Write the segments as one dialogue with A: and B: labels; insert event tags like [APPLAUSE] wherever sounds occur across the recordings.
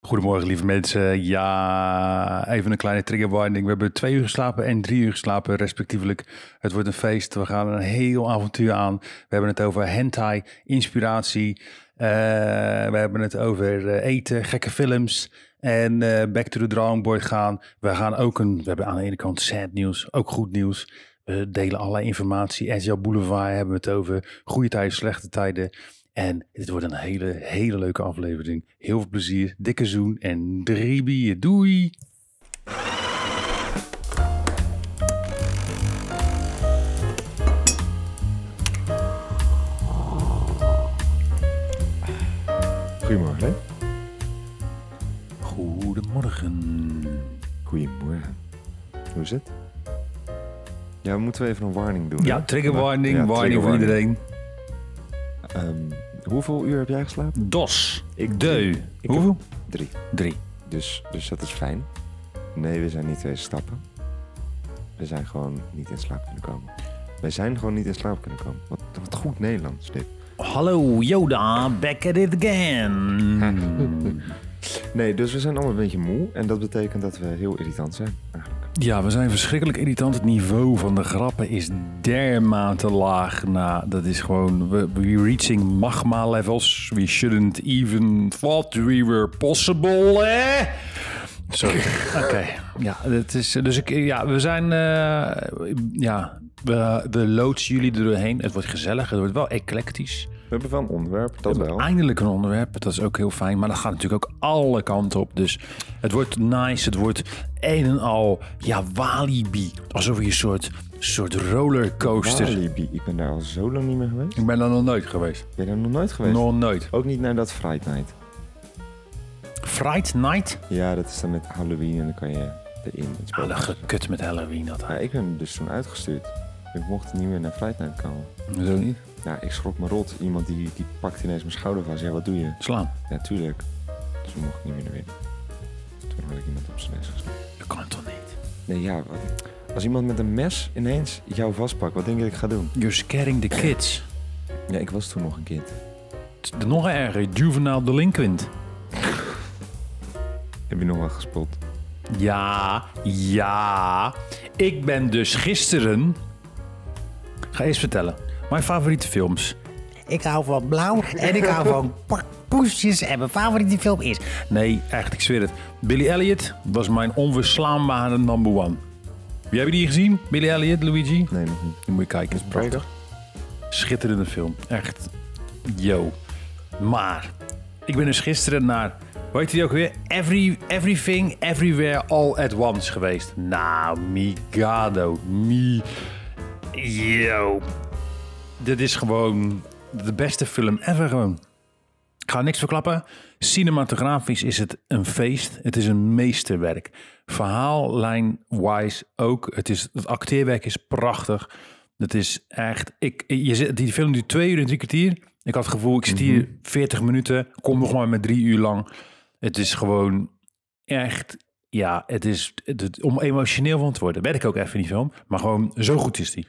A: Goedemorgen, lieve mensen. Ja, even een kleine trigger warning. We hebben twee uur geslapen en drie uur geslapen, respectievelijk. Het wordt een feest. We gaan een heel avontuur aan. We hebben het over hentai, inspiratie. Eh, we hebben het over eh, eten, gekke films. En eh, back to the drawing board gaan. We gaan ook een. We hebben aan de ene kant sad nieuws, ook goed nieuws. We delen allerlei informatie. SL Boulevard hebben we het over. Goede tijden, slechte tijden. En dit wordt een hele, hele leuke aflevering. Heel veel plezier, dikke zoen en drie bier. Doei!
B: Goedemorgen. hè?
A: Goedemorgen.
B: Goedemorgen. Hoe is het? Ja, moeten we even een warning doen?
A: Ja,
B: hè?
A: trigger
B: Ja,
A: warning,
B: ja,
A: warning
B: trigger
A: voor
B: warning.
A: iedereen.
B: Ehm, hoeveel uur heb jij geslapen?
A: Dos.
B: Ik-
A: Deu.
B: ik-
A: Hoeveel?
B: Drie.
A: Drie.
B: Dus, dus dat is fijn. Nee, we zijn niet twee stappen. We zijn gewoon niet in slaap kunnen komen. We zijn gewoon niet in slaap kunnen komen. Wat, wat goed Nederlands dit.
A: Hallo Yoda, back at it [LAUGHS] again.
B: Nee, dus we zijn allemaal een beetje moe. En dat betekent dat we heel irritant zijn, eigenlijk.
A: ja, we zijn verschrikkelijk irritant. Het niveau van de grappen is dermate laag. Nou, dat is gewoon... We, we reaching magma levels. We shouldn't even thought we were possible, hè? Sorry. Oké. Ja, dat is, dus ik, ja, we zijn. eh, ja, we, we loodsen jullie er doorheen. Het wordt gezellig, het wordt wel eclectisch.
B: We hebben wel een onderwerp, dat wel.
A: Eindelijk een onderwerp, dat is ook heel fijn. Maar dat gaat natuurlijk ook alle kanten op. Dus het wordt nice, het wordt een en al. Ja, Walibi. Alsof je een soort, soort rollercoaster.
B: Walibi, ik ben daar al zo lang niet meer geweest.
A: Ik ben daar nog nooit geweest.
B: Ben je daar nog nooit geweest?
A: Nog nooit.
B: Ook niet naar dat Fright Night.
A: Fright Night?
B: Ja, dat is dan met Halloween en dan kan je erin. in het spel.
A: Alle gekut met Halloween dat.
B: Maar ik ben dus toen uitgestuurd. Ik mocht niet meer naar Fright Night komen.
A: Zo niet?
B: Ja, ik schrok me rot. Iemand die, die pakt ineens mijn schouder vast. Ja, wat doe je?
A: Slaan.
B: Ja, tuurlijk. Dus toen mocht ik niet meer naar binnen. Toen had ik iemand op zijn mes geslagen.
A: Dat kan toch niet?
B: Nee, ja, wat- als iemand met een mes ineens jou vastpakt, wat denk je dat ik ga doen?
A: You're scaring the kids.
B: Ja, ik was toen nog een kind.
A: Het is Nog erger, juvenile delinquent.
B: Heb je nog wel gespot?
A: Ja, ja. Ik ben dus gisteren. Ga eens vertellen. Mijn favoriete films.
C: Ik hou van blauw en ik hou
A: [LAUGHS]
C: van pa- poesjes. En mijn favoriete film is.
A: Nee, echt, ik zweer het. Billy Elliot was mijn onverslaanbare number one. Wie hebben die gezien? Billy Elliot, Luigi?
B: Nee, nog niet.
A: Die moet je kijken, is prachtig. Schitterende film, echt. Yo. Maar, ik ben dus gisteren naar, hoe heet die ook weer? Every, everything, Everywhere, All at Once geweest. Nou, Migado, Mi... Yo. Dit is gewoon de beste film ever gewoon. Ik ga niks verklappen. Cinematografisch is het een feest. Het is een meesterwerk. Verhaallijn-wise ook. Het, is, het acteerwerk is prachtig. Het is echt... Ik, je zit, die film duurt twee uur en drie kwartier. Ik had het gevoel, ik zit hier 40 minuten. Kom nog maar met drie uur lang. Het is gewoon echt... Ja, het is het- het- om emotioneel van te worden. Werd ik ook even in die film. Maar gewoon, zo goed is die.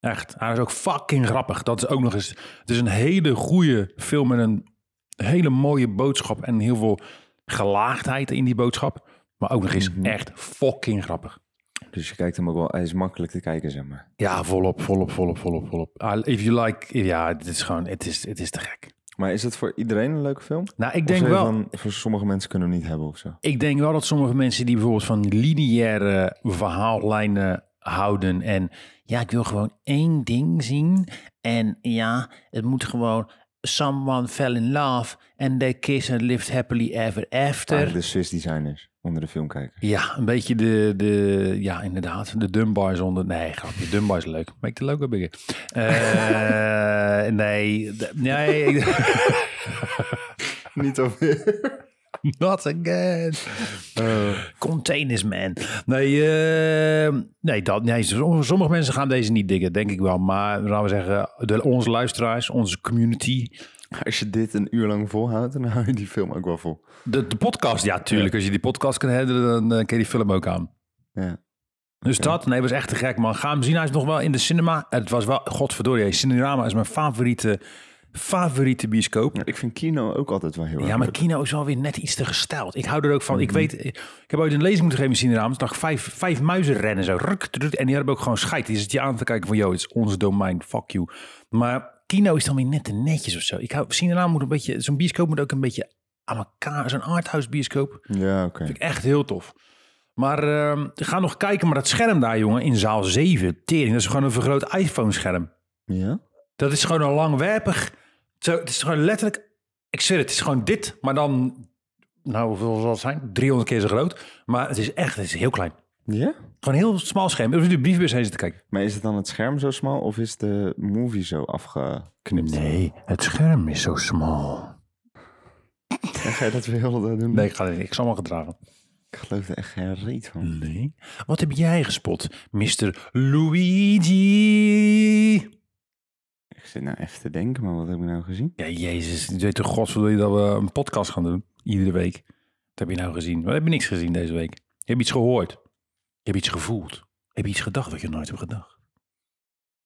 A: Echt. Hij is ook fucking grappig. Dat is ook nog eens... Het is een hele goede film met een hele mooie boodschap en heel veel gelaagdheid in die boodschap. Maar ook nog eens echt fucking grappig.
B: Dus je kijkt hem ook wel, hij is makkelijk te kijken, zeg maar.
A: Ja, volop, volop, volop, volop, volop. Ah, If you like, ja, het is gewoon, het is, het is te gek.
B: Maar is het voor iedereen een leuke film?
A: Nou, ik
B: Of
A: denk
B: zeg je
A: wel,
B: van, voor sommige mensen kunnen we hem niet hebben of zo.
A: ik denk wel dat sommige mensen die bijvoorbeeld van lineaire verhaallijnen houden en ja, ik wil gewoon één ding zien en ja, het moet gewoon someone fell in love and they kissed and lived happily ever after.
B: Eigenlijk de cis designers onder de filmkijkers.
A: Ja, een beetje de, de ja, inderdaad, de Dunbar zonder, nee, grapje, Dunbar is leuk. Make the logo bigger. Eh, [LAUGHS] nee, d- nee, [LAUGHS]
B: Niet alweer.
A: not again. Containers, man. Nee, eh, nee, dat, nee, som- sommige mensen gaan deze niet diggen, denk ik wel. Maar laten we zeggen, de, onze luisteraars, onze community,
B: Als je dit een uur lang volhoudt, dan hou je die film ook wel vol.
A: de, de podcast, ja, tuurlijk. Als je die podcast kan handelen, dan eh, kun je die film ook aan.
B: Ja.
A: Dus dat, nee, was echt te gek, man. Ga hem zien. Hij is nog wel in de cinema. Het was wel, godverdorie, Cinerama is mijn favoriete favoriete bioscoop.
B: Ik vind kino ook altijd wel heel erg
A: Ja, maar
B: leuk.
A: kino is wel weer net iets te gesteld. Ik hou er ook van. Ik weet, ik heb ooit een lezing moeten geven in Sineraam. Toen zag ik vijf, vijf muizen rennen zo. Ruk, druk, en die hadden ook gewoon scheid. Die zit je aan te kijken van, joh, het is ons domein, fuck you. Maar kino is dan weer net te netjes of zo. Ik hou, Sineraam moet een beetje, zo'n bioscoop moet ook een beetje aan elkaar. Zo'n arthouse bioscoop.
B: Ja, oké.
A: Vind ik echt heel tof. Maar ehm, ga nog kijken, maar dat scherm daar, jongen, in zaal 7, tering, dat is gewoon een vergroot iPhone-scherm.
B: Ja?
A: Dat is gewoon een langwerpig. Zo, het is gewoon letterlijk. Ik zeg het, het is gewoon dit, maar dan. Nou, hoeveel zal het zijn? 300 keer zo groot. Maar het is echt, het is heel klein.
B: Ja?
A: Gewoon een heel smal scherm. Of de briefbus heen zitten kijken.
B: Maar is het dan het scherm zo smal of is de movie zo afge...
A: Nee, het scherm is zo smal.
B: En ga je dat weer heel dat doen?
A: Nee, ik ga het niet. Ik zal maar gedragen.
B: Ik geloof er echt geen reet van.
A: Nee. Wat heb jij gespot, Mr. Luigi?
B: Ik zit nou even te denken, maar wat heb ik nou gezien?
A: Ja, jezus. Je weet toch godsverdomme dat we een podcast gaan doen. Iedere week. Wat heb je nou gezien? Wat heb je niks gezien deze week? Je hebt iets gehoord. Je hebt iets gevoeld. Heb je iets gedacht wat je nooit hebt gedacht?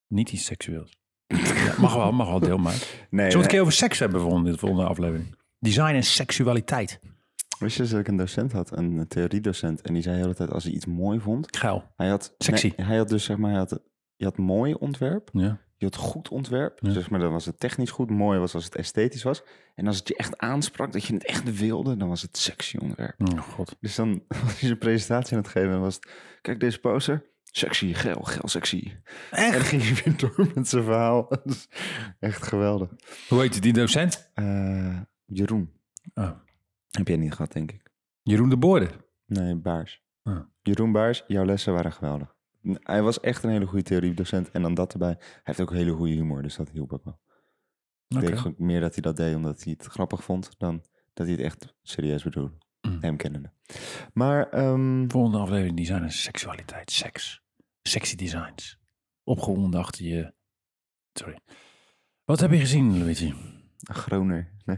A: Niet iets [LAUGHS] seksueels. Ja, mag wel, mag wel deel maar. Zullen
B: Nee, eh,
A: we het een keer over seks hebben volgende, de volgende aflevering? eh, Design en seksualiteit.
B: wist je eens dat ik een docent had, een eh, theoriedocent, en die zei de hele tijd als hij iets mooi vond...
A: Geil.
B: Hij had...
A: Sexy.
B: Nee, hij had dus zeg maar, hij had, je had mooi ontwerp,
A: Ja.
B: je had goed ontwerp,
A: Ja.
B: zeg maar dan was het technisch goed, mooi was als het esthetisch was. En als het je echt aansprak, dat je het echt wilde, dan was het sexy ontwerp.
A: Oh, god.
B: Dus dan [LAUGHS] was hij zijn presentatie aan het geven en was het... Kijk, deze poster. Sexy, geil, geil, sexy. En dan
A: Echt?
B: ging hij weer door met zijn verhaal. [LAUGHS] Dat is echt geweldig.
A: Hoe heet die docent?
B: Eh, Jeroen.
A: Oh,
B: Heb jij niet gehad, denk ik.
A: Jeroen de Boorde.
B: Nee, Baars.
A: Ah.
B: Jeroen Baars, jouw lessen waren geweldig. N- Hij was echt een hele goede theoriedocent. En dan dat erbij. Hij heeft ook hele goede humor, dus dat hielp ook wel. Ik denk
A: Oké.
B: gewoon meer dat hij dat deed omdat hij het grappig vond... dan dat hij het echt serieus bedoelde.
A: Mm.
B: Hem kennende. Maar ehm,
A: Volgende aflevering design en seksualiteit. Seks. Sexy designs. Opgewonden achter je. Sorry. Wat heb je gezien, Luigi?
B: Groner. [LAUGHS] Nee.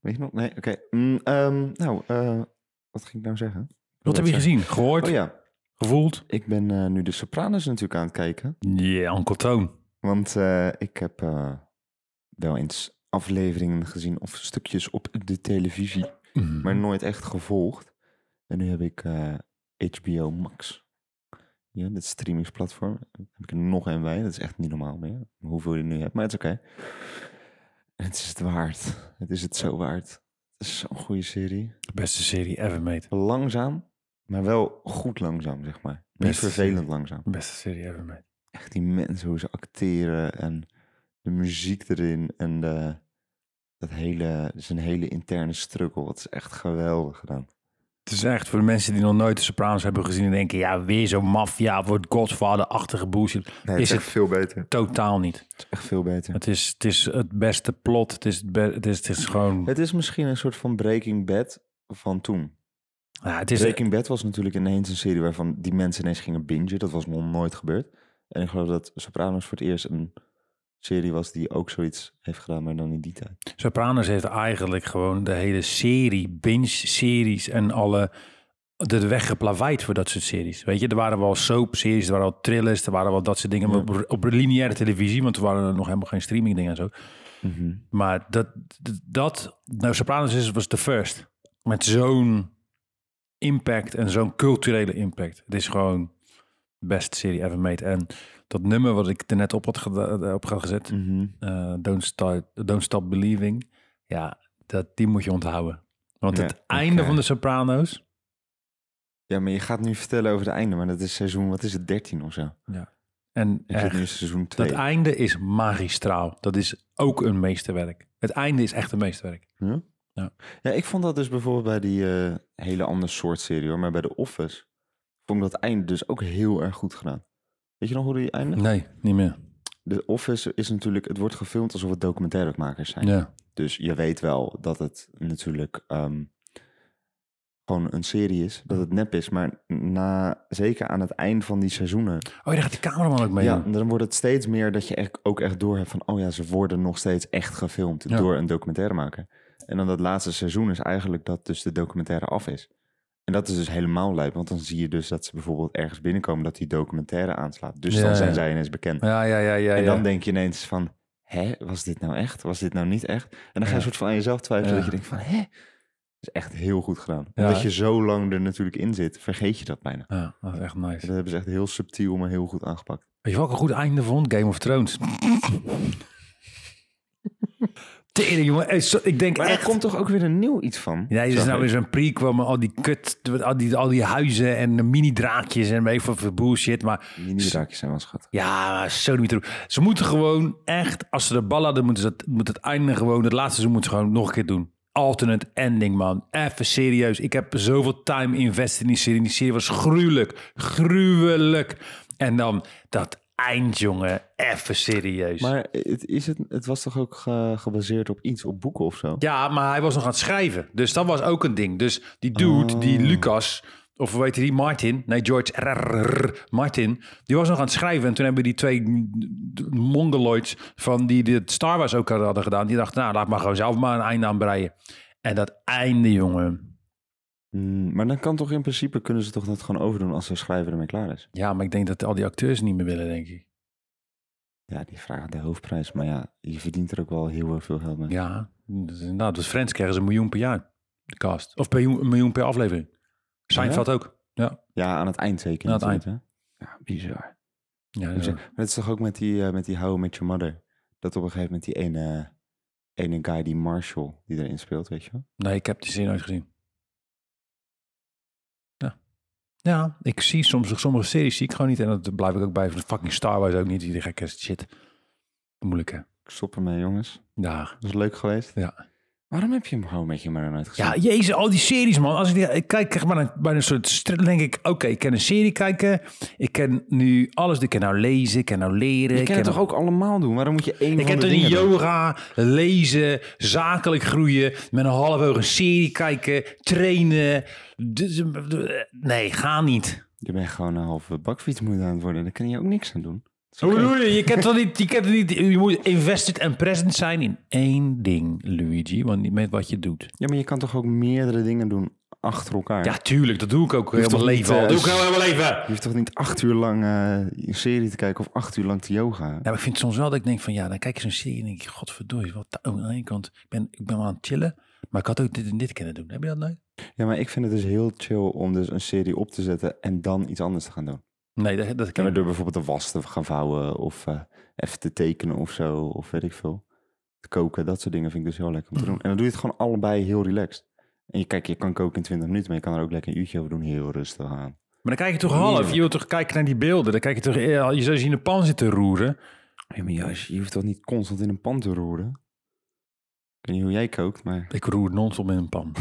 B: Weet je nog? Nee, oké. Mm, ehm, nou, eh, wat ging ik nou zeggen?
A: Wat heb je
B: zeggen.
A: gezien? Gehoord?
B: Oh ja,
A: Gevoeld?
B: ik ben eh, nu de Sopranos natuurlijk aan het kijken.
A: Ja, Uncle Toon.
B: Want eh, ik heb eh, wel eens afleveringen gezien of stukjes op de televisie,
A: Mm.
B: maar nooit echt gevolgd. En nu heb ik eh, HBO Max. Ja, dit streamingsplatform. Heb ik er nog een bij. Dat is echt niet normaal meer. Hoeveel je nu hebt, maar het is oké. Het is het waard. Het is het zo waard. Het is zo'n goede serie.
A: Beste serie ever made.
B: langzaam, maar wel goed langzaam, zeg maar. Niet
A: Best.
B: vervelend langzaam.
A: Beste serie ever made.
B: Echt die mensen, hoe ze acteren en de muziek erin en de, dat hele, zijn hele interne struggle. Wat is echt geweldig gedaan.
A: Het is echt voor de mensen die nog nooit de Sopranos hebben gezien en denken... ja, weer zo'n maffia, wordt Godfather-achtige bullshit.
B: Nee,
A: Is het-
B: veel beter.
A: Totaal niet.
B: Het is echt veel beter.
A: Het is het, is het beste plot. Het is, het be- het is, het is gewoon...
B: Het is misschien een soort van Breaking Bad van toen.
A: Ja, het is,
B: Breaking Bad was natuurlijk ineens een serie waarvan die mensen ineens gingen bingen. Dat was nog nooit gebeurd. En ik geloof dat Sopranos voor het eerst een serie was die ook zoiets heeft gedaan, maar dan in die tijd.
A: Sopranos heeft eigenlijk gewoon de hele serie, binge-series en alle... de weg geplaveid voor dat soort series. Weet je, er waren wel soap-series, er waren wel thrillers... er waren wel dat soort dingen
B: Ja.
A: op, op lineaire televisie... want er waren er nog helemaal geen streaming dingen en zo.
B: Mhm.
A: Maar dat, dat- dat nou, Sopranos is, was de first. Met zo'n impact en zo'n culturele impact. Het is gewoon de beste serie ever made. En dat nummer wat ik er net op had, geda- op had gezet...
B: Mhm.
A: eh, don't, start, don't Stop Believing. Ja, dat, die moet je onthouden. Want
B: Ja,
A: het
B: oké.
A: einde van de Sopranos.
B: Ja, maar je gaat nu vertellen over het einde, maar dat is seizoen, wat is het, 13 of zo?
A: En
B: Ik zit
A: echt,
B: nu in seizoen 2.
A: dat einde is magistraal. Dat is ook een meesterwerk. Het einde is echt een meesterwerk.
B: Ja, ik vond dat dus bijvoorbeeld bij die eh, hele andere soort serie hoor, maar bij The Office vond ik dat einde dus ook heel erg goed gedaan. Weet je nog hoe die einde?
A: Nee, niet meer.
B: The Office is natuurlijk, het wordt gefilmd alsof het documentairemakers zijn.
A: Ja.
B: Dus je weet wel dat het natuurlijk ehm, gewoon een serie is, dat het nep is, maar na, zeker aan het eind van die seizoenen
A: Oh, daar gaat die cameraman ook mee.
B: Ja,
A: doen.
B: en dan wordt het steeds meer dat je echt, ook echt door hebt van... oh ja, ze worden nog steeds echt gefilmd
A: Ja.
B: door een documentairemaker. En dan dat laatste seizoen is eigenlijk dat dus de documentaire af is. En dat is dus helemaal lijp, want dan zie je dus dat ze bijvoorbeeld ergens binnenkomen... dat die documentaire aanslaat. Dus
A: Ja,
B: dan zijn
A: ja.
B: zij ineens bekend.
A: Ja, ja, ja, ja.
B: en
A: ja.
B: dan denk je ineens van, hè, was dit nou echt? Was dit nou niet echt? En dan ga je een soort van aan jezelf twijfelen.
A: Ja.
B: Dat je denkt van, hè? Dat is echt heel goed gedaan.
A: Ja.
B: Omdat je zo lang er natuurlijk in zit, vergeet je dat bijna.
A: Ja, dat is echt
B: En
A: nice.
B: dat hebben ze echt heel subtiel, maar heel goed aangepakt.
A: Weet je wat ik een goed einde vond? Game of
B: [LAUGHS]
A: Thrones. Tering, jongen. Eh, zo- Ik denk
B: Maar er
A: echt...
B: komt toch ook weer een nieuw iets van?
A: Ja, dit is
B: zag
A: nou
B: ik.
A: weer zo'n prequel met al die kut, al die, al die huizen en de mini-draakjes en weet ik veel voor bullshit. Maar
B: Mini-draakjes zijn wel schattig.
A: ja, zo niet doen. Ze moeten gewoon echt, als ze de bal hadden, moeten ze dat, moet het einde gewoon, het laatste seizoen moeten ze gewoon nog een keer doen. Alternate ending, man. Even serieus. Ik heb zoveel time invested in die serie. Die serie was gruwelijk. Gruwelijk. En dan dat eind, jongen. Even serieus.
B: Maar het, is het, het was toch ook ge- gebaseerd op iets, op boeken of zo?
A: Ja, maar hij was nog aan het schrijven. Dus dat was ook een ding. Dus die dude, die Lucas, of weet je die, Martin. Nee, George RRR Martin. Die was nog aan het schrijven. En toen hebben die twee mongoloids van die dit Star Wars ook hadden gedaan. Die dachten, nou, laat maar gewoon zelf maar een einde aan breien. En dat einde, jongen.
B: Mm, maar dan kan toch in principe, kunnen ze toch dat gewoon overdoen als de schrijver ermee klaar is?
A: Ja, maar ik denk dat al die acteurs niet meer willen, denk ik.
B: Ja, die vragen de hoofdprijs. Maar ja, je verdient er ook wel heel erg veel geld mee.
A: Ja, dat is inderdaad. Dus Friends krijgen ze een miljoen per jaar. De cast. Of per, een miljoen per aflevering. Seinfeld ook. Ja.
B: Ja, aan het eind zeker.
A: Aan het
B: natuurlijk, hè? Ja, bizar.
A: Ja,
B: Dus,
A: ja.
B: Maar dat is toch ook met die, eh, met die How I Met Your Mother. Dat op een gegeven moment die ene, ene guy, die Marshall, die erin speelt, weet je wel?
A: Nee, ik heb die zin nooit gezien. Ja. Ja, ik zie soms sommige series zie ik gewoon niet. En dat blijf ik ook bij. Van Fucking Star Wars ook niet. Die gekke shit. Moeilijk hè?
B: Ik stop ermee, jongens.
A: Ja.
B: Dat is leuk geweest.
A: Ja.
B: Waarom heb je hem How I Met Your Mother nooit gezien?
A: ja, jezus, al die series man. Als ik, die, ik kijk echt maar naar, bij een soort stri- dan denk ik, oké, ik kan een serie kijken. Ik kan nu alles. Ik kan nou lezen, ik kan nou leren.
B: je
A: ik
B: kan
A: kan
B: het toch ook allemaal doen? Waarom moet je één
A: Ik
B: van
A: heb
B: de
A: toch niet
B: dingen doen?
A: yoga, lezen, zakelijk groeien, met een half oog een serie kijken, trainen. Dus, eh, Nee, ga niet.
B: Je bent gewoon een halve bakfietsmoeder aan het worden. Daar kan je ook niks aan doen. Dat is
A: Hoe
B: oké.
A: bedoel je? Je kent toch niet, je kent het niet. Je moet invested en present zijn in één ding, Luigi. Want niet met wat je doet.
B: Ja, maar je kan toch ook meerdere dingen doen achter elkaar?
A: Ja, tuurlijk. Dat doe ik ook heel mijn
B: toch
A: leven.
B: niet,
A: al.
B: eh,
A: doe ik heel mijn leven.
B: Je hoeft toch niet acht uur lang eh, een serie te kijken of acht uur lang te yoga?
A: Ja, maar Nou, ik vind soms wel dat ik denk van ja, dan kijk je zo'n serie en denk ik, godverdorie, wat da- aan de ene kant, ik ben, ik ben wel aan het chillen, maar ik had ook dit en dit kunnen doen. Heb je dat nooit?
B: Ja, maar ik vind het dus heel chill om dus een serie op te zetten en dan iets anders te gaan doen.
A: Nee, dat, dat
B: Ja,
A: kan
B: maar
A: ik
B: door bijvoorbeeld de was te gaan vouwen of eh, even te tekenen of zo, of weet ik veel. Te koken, dat soort dingen vind ik dus heel lekker om te doen. En dan doe je het gewoon allebei heel relaxed. En je, kijk, je kan koken in 20 minuten, maar je kan er ook lekker een uurtje over doen, heel rustig aan.
A: Maar dan kijk je toch half, je wilt toch kijken naar die beelden, dan kijk je toch, eh, ja, je zou zien de pan zitten roeren.
B: Ja, maar juist, je hoeft toch niet constant in een pan te roeren? Ik weet niet hoe jij kookt, maar...
A: Ik roer non-stop in een pan.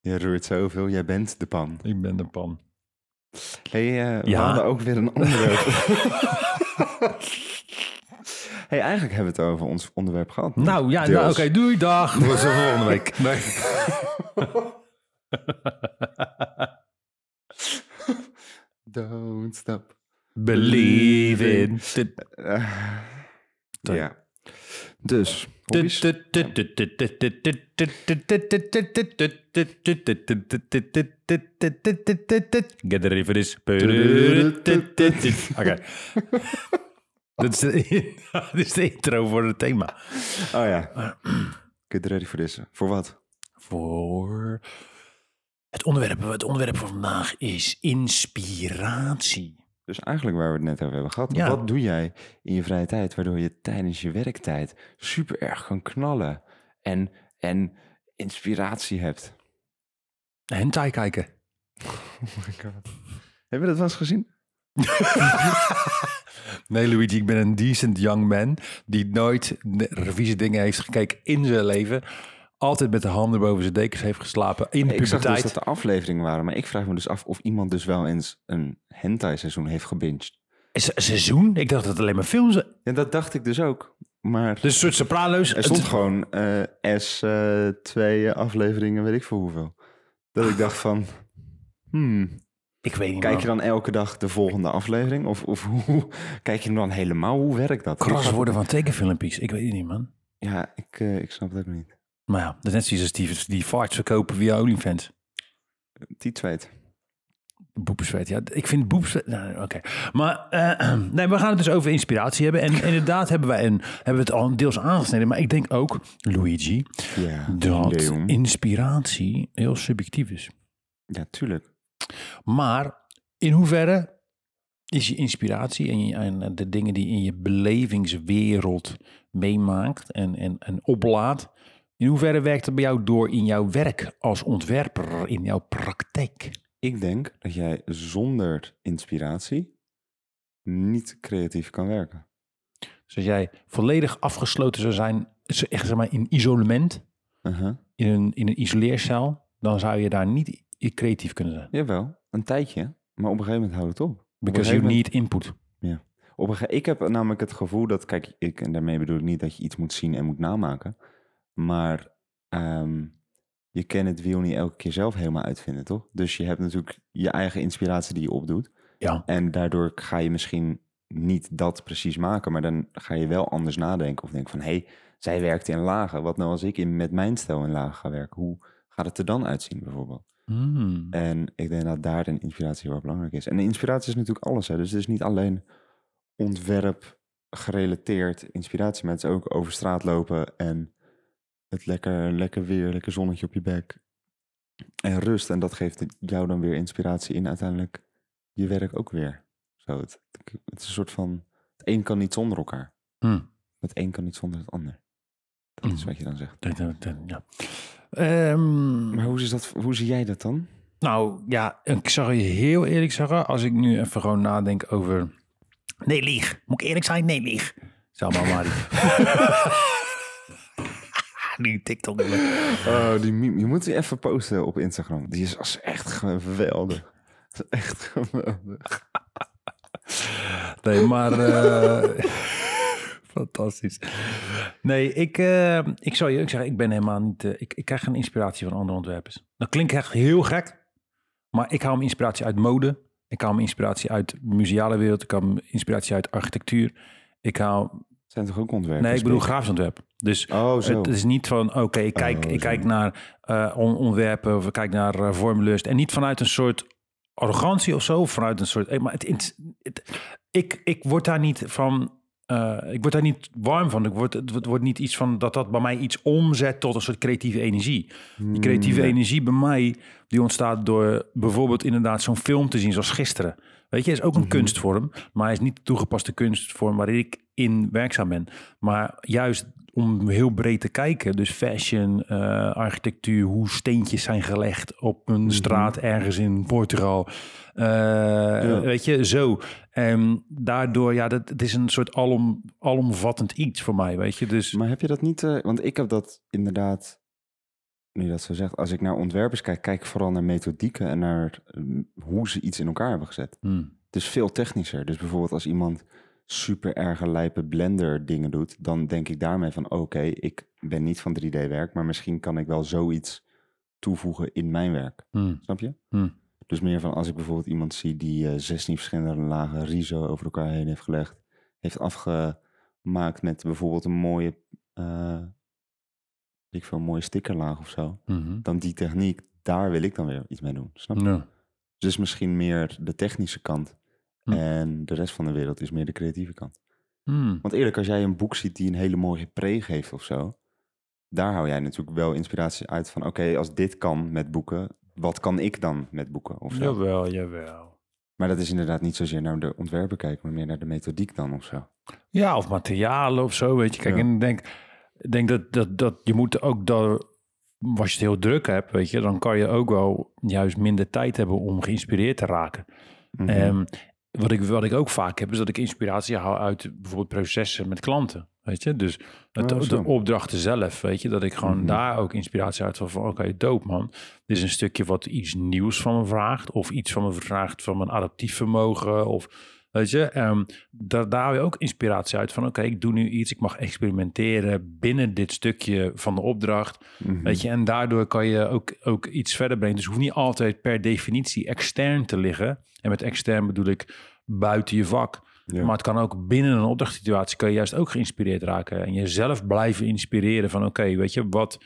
B: Je roert zoveel, jij bent de pan.
A: ik ben de pan.
B: Hey, eh, we
A: Ja.
B: hadden ook weer
A: [LAUGHS]
B: een onderwerp. hey, eigenlijk hebben we het over ons onderwerp gehad.
A: Nou ja,
B: Deels.
A: nou, oké, doei, dag. We zien volgende week. [LAUGHS]
B: Don't stop.
A: Believe in.
B: Eh,
A: Sorry.
B: ja. Dus, hobby's?
A: Get ready for this.
B: [LAUGHS]
A: Oké. Dit is de- dit is de intro voor het thema.
B: Oh ja. Get ready for this. Voor wat?
A: Voor het onderwerp. Het onderwerp van vandaag is inspiratie.
B: Dus eigenlijk waar we het net over hebben gehad.
A: Ja.
B: Wat doe jij in je vrije tijd waardoor je tijdens je werktijd super erg kan knallen en, en inspiratie hebt?
A: Hentai kijken.
B: Oh my god. Heb je dat wel eens gezien?
A: Nee, Luigi, ik ben een decent young man die nooit ne- vieze dingen heeft gekeken in zijn leven. Altijd met de handen boven zijn dekens heeft geslapen in de
B: Ik zag dus
A: puberteit.
B: dat de afleveringen waren, maar ik vraag me dus af of iemand dus wel eens een hentai-seizoen heeft gebinged.
A: Is er een seizoen? Ik dacht dat het alleen maar films... Dus
B: En dat dacht ik dus ook, maar
A: een soort soprano's.
B: er stond gewoon eh, S2 afleveringen, weet ik veel hoeveel. Dat ik dacht van, hmm,
A: Ik weet niet
B: kijk je
A: man.
B: dan elke dag de volgende aflevering? Of, of hoe, kijk je hem dan helemaal, hoe werkt dat?
A: Kras worden van tekenfilmpjes. Ik weet het niet, man.
B: Ja, ik, eh, ik snap het ook niet.
A: Maar ja, dat is net zoiets als die, die farts verkopen via OnlyFans.
B: Die tweet.
A: Boepenzweet, ja. Ik vind boepenzweet... Nou, Oké. Maar eh, [CLEARS THROAT] nee, we gaan het dus over inspiratie hebben. En inderdaad hebben wij een, hebben we het al deels aangesneden. Maar ik denk ook, Luigi,
B: Ja,
A: dat
B: Leon.
A: inspiratie heel subjectief is.
B: Ja, tuurlijk.
A: Maar in hoeverre is je inspiratie en, je- en eh, de dingen die je in je belevingswereld meemaakt en, en, en oplaat, in hoeverre werkt het bij jou door in jouw werk als ontwerper, in jouw praktijk?
B: Ik denk dat jij zonder inspiratie niet creatief kan werken.
A: Dus als jij volledig afgesloten zou zijn, z- echt zeg maar in isolement,
B: Uh-huh.
A: in een, in een isoleercel, dan zou je daar niet i- creatief kunnen zijn.
B: Jawel, een tijdje. Maar op een gegeven moment houdt het op.
A: Because
B: gegeven
A: you
B: moment-
A: need input.
B: Op een gege- ik heb namelijk het gevoel dat, kijk, ik, en daarmee bedoel ik niet dat je iets moet zien en moet namaken. Maar ehm, je kan het wiel niet elke keer zelf helemaal uitvinden, toch? Dus je hebt natuurlijk je eigen inspiratie die je opdoet.
A: Ja.
B: En daardoor ga je misschien niet dat precies maken, maar dan ga je wel anders nadenken. Of denk van, hé, hey, zij werkt in lagen. Wat nou als ik in, met mijn stijl in lagen ga werken? Hoe gaat het er dan uitzien, bijvoorbeeld?
A: Hmm.
B: En ik denk dat daar de inspiratie heel erg belangrijk is. En de inspiratie is natuurlijk alles. Hè? Dus het is niet alleen ontwerp gerelateerd inspiratie, maar het is ook over straat lopen en het lekker, lekker weer, lekker zonnetje op je bek. En rust. En dat geeft jou dan weer inspiratie in uiteindelijk je werk ook weer. Zo, het, het is een soort van, het een kan niet zonder elkaar.
A: Hmm.
B: Het een kan niet zonder het ander. Dat is
A: Mhm.
B: wat je dan zegt.
A: Dat- dat- dat- Ja. Ehm,
B: Maar hoe, is dat, hoe zie jij dat dan?
A: Nou ja, ik zou je heel eerlijk zeggen, als ik nu even gewoon nadenk over. Nee, lieg. Moet ik eerlijk zijn? Nee, lieg. Salma [LAUGHS] Mari. Die TikTok.
B: Oh, die meme. Je moet die even posten op Instagram. Die is als echt geweldig. Dat is echt geweldig.
A: Nee, maar. eh, [LAUGHS] Fantastisch. Nee, ik, eh, ik zou je ook zeggen, ik ben helemaal niet. eh, ik, ik krijg geen inspiratie van andere ontwerpers. Dat klinkt echt heel gek, maar ik haal mijn inspiratie uit mode. Ik haal mijn inspiratie uit de museale wereld. Ik haal mijn inspiratie uit architectuur. Ik haal
B: Zijn toch ook ontwerpers?
A: Nee, ik bedoel
B: Pik?
A: grafisch ontwerp. Dus
B: Oh, zo.
A: het is niet van, oké, ik, kijk,
B: Oh,
A: ik
B: zo.
A: kijk naar eh, on- ontwerpen of ik kijk naar eh, vormlust. En niet vanuit een soort arrogantie of zo, of vanuit een soort... eh, Maar het, het- het- ik, ik word daar niet van... eh, ik word daar niet warm van. Ik word, het wordt- wordt niet iets van dat dat bij mij iets omzet tot een soort creatieve energie. Die creatieve
B: Nee.
A: energie bij mij, die ontstaat door bijvoorbeeld inderdaad zo'n film te zien zoals gisteren. Weet je, is
B: Mhm.
A: ook een kunstvorm, maar hij is niet de toegepaste kunstvorm waarin ik in werkzaam ben. Maar juist om heel breed te kijken, dus fashion, eh, architectuur, hoe steentjes zijn gelegd op een straat ergens in Portugal. Eh, Weet je, zo. En daardoor, ja, dat, het is een soort alom, alomvattend iets voor mij, weet je. Dus
B: Maar heb je dat niet... eh, want ik heb dat inderdaad... Nu je dat zo zegt, als ik naar ontwerpers kijk, kijk ik vooral naar methodieken en naar mm, hoe ze iets in elkaar hebben gezet.
A: hmm,
B: Het is veel technischer. Dus bijvoorbeeld als iemand super erge lijpe blender dingen doet, dan denk ik daarmee van oké, ik ben niet van 3D werk, maar misschien kan ik wel zoiets toevoegen in mijn werk.
A: hmm,
B: Snap je?
A: Hmm.
B: Dus meer van als ik bijvoorbeeld iemand zie die eh 16 verschillende lagen riso over elkaar heen heeft gelegd, heeft afgemaakt met bijvoorbeeld een mooie, eh, weet ik veel, een mooie stickerlaag of zo,
A: mhm.
B: dan die techniek, daar wil ik dan weer iets mee doen. Snap je?
A: Ja.
B: Dus misschien meer de technische kant.
A: Hm.
B: En de rest van de wereld is meer de creatieve kant.
A: Hmm.
B: Want eerlijk, als jij een boek ziet die een hele mooie pre geeft of zo, daar hou jij natuurlijk wel inspiratie uit van: oké, als dit kan met boeken, wat kan ik dan met boeken? Of zo.
A: Jawel, jawel.
B: Maar dat is inderdaad niet zozeer naar de ontwerpen kijken, maar meer naar de methodiek dan of zo.
A: Ja, of materialen of zo, weet je. Kijk,
B: Ja.
A: en ik denk, ik denk dat, dat, dat je moet ook daar... Als je het heel druk hebt, weet je, dan kan je ook wel juist minder tijd hebben om geïnspireerd te raken.
B: Mhm.
A: Ehm, wat, ik, wat ik ook vaak heb, is dat ik inspiratie haal uit bijvoorbeeld processen met klanten. Weet je, dus het,
B: Oh, zo.
A: de opdrachten zelf, weet je, dat ik gewoon
B: Mhm.
A: daar ook inspiratie uit haal van, oké, dope man. Dit is een stukje wat iets nieuws van me vraagt, of iets van me vraagt van mijn adaptief vermogen, of weet je, ehm, daar, daar haal je ook inspiratie uit van, oké, ik doe nu iets, ik mag experimenteren binnen dit stukje van de opdracht.
B: Mhm.
A: Weet je, en daardoor kan je ook, ook iets verder brengen. Dus het hoeft niet altijd per definitie extern te liggen. En met extern bedoel ik buiten je vak.
B: Ja.
A: Maar het kan ook binnen een opdrachtssituatie kan je juist ook geïnspireerd raken. En jezelf blijven inspireren van oké, weet je, wat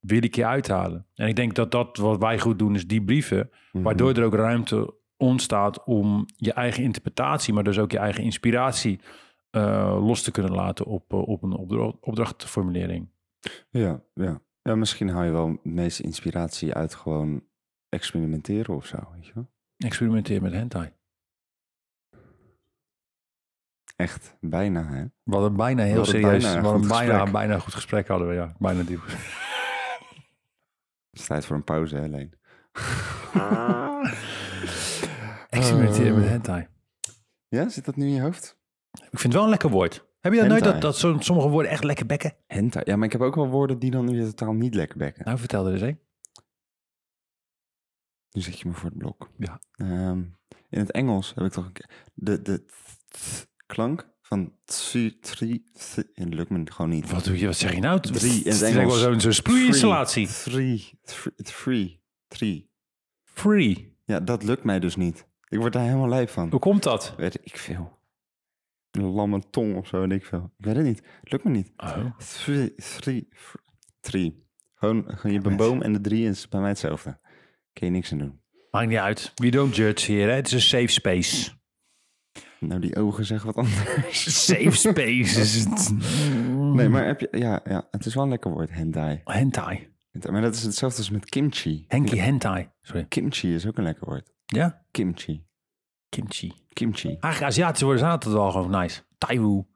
A: wil ik je uithalen? En ik denk dat dat wat wij goed doen is die brieven.
B: Mhm.
A: Waardoor er ook ruimte ontstaat om je eigen interpretatie, maar dus ook je eigen inspiratie eh, los te kunnen laten op, eh, op een opdra- opdrachtformulering.
B: Ja, ja. ja, misschien haal je wel de meeste inspiratie uit gewoon experimenteren of zo. Weet je wel?
A: Experimenteer met hentai.
B: Echt, bijna hè.
A: We hadden bijna heel
B: We hadden
A: serieus,
B: bijna een
A: we hadden
B: goed
A: bijna,
B: gesprek.
A: bijna een goed gesprek hadden we, ja. Bijna diep.
B: Het is tijd voor een pauze hè, Leen.
A: Experimenteer met
B: Eh,
A: hentai.
B: Ja, zit dat nu in je hoofd?
A: Ik vind het wel een lekker woord. Heb je dat nooit
B: Hentai.
A: dat, dat som- sommige woorden echt lekker bekken?
B: Hentai. Ja, maar ik heb ook wel woorden die dan weer totaal niet lekker bekken.
A: Nou, vertel er eens één.
B: Nu zet je me voor het blok.
A: Ja.
B: Ehm, in het Engels heb ik toch een keer- de, de th- th- klank van three, three, th- en dat lukt me gewoon niet.
A: Wat doe je? Wat zeg je nou?
B: Drie in het
A: Het is
B: Engels.
A: wel zo'n- zo'n sproeiinstallatie.
B: Three, three, three, three.
A: Free.
B: Ja, dat lukt mij dus niet. Ik word daar helemaal lijp van.
A: Hoe komt dat?
B: Weet ik veel. Een lamme tong of zo, weet ik veel. Ik weet het niet. Het lukt me niet.
A: Oh.
B: Three, three, fr- three. Gewoon, gewoon je hebt een boom en de drie is bij mij hetzelfde. Kun je niks aan doen.
A: Maakt niet uit. We don't judge here. hè. Het is een safe space.
B: Nou, die ogen zeggen wat anders.
A: Safe space is het.
B: Nee, maar heb je... Ja, ja, het is wel een lekker woord, hentai.
A: [LAUGHS] Hentai.
B: Maar dat is hetzelfde als met kimchi.
A: Henki hentai. Sorry.
B: Kimchi is ook een lekker woord.
A: Ja?
B: Kimchi.
A: Kimchi.
B: Kimchi.
A: Eigenlijk Aziatische woorden zijn altijd wel gewoon nice. Taiwoe.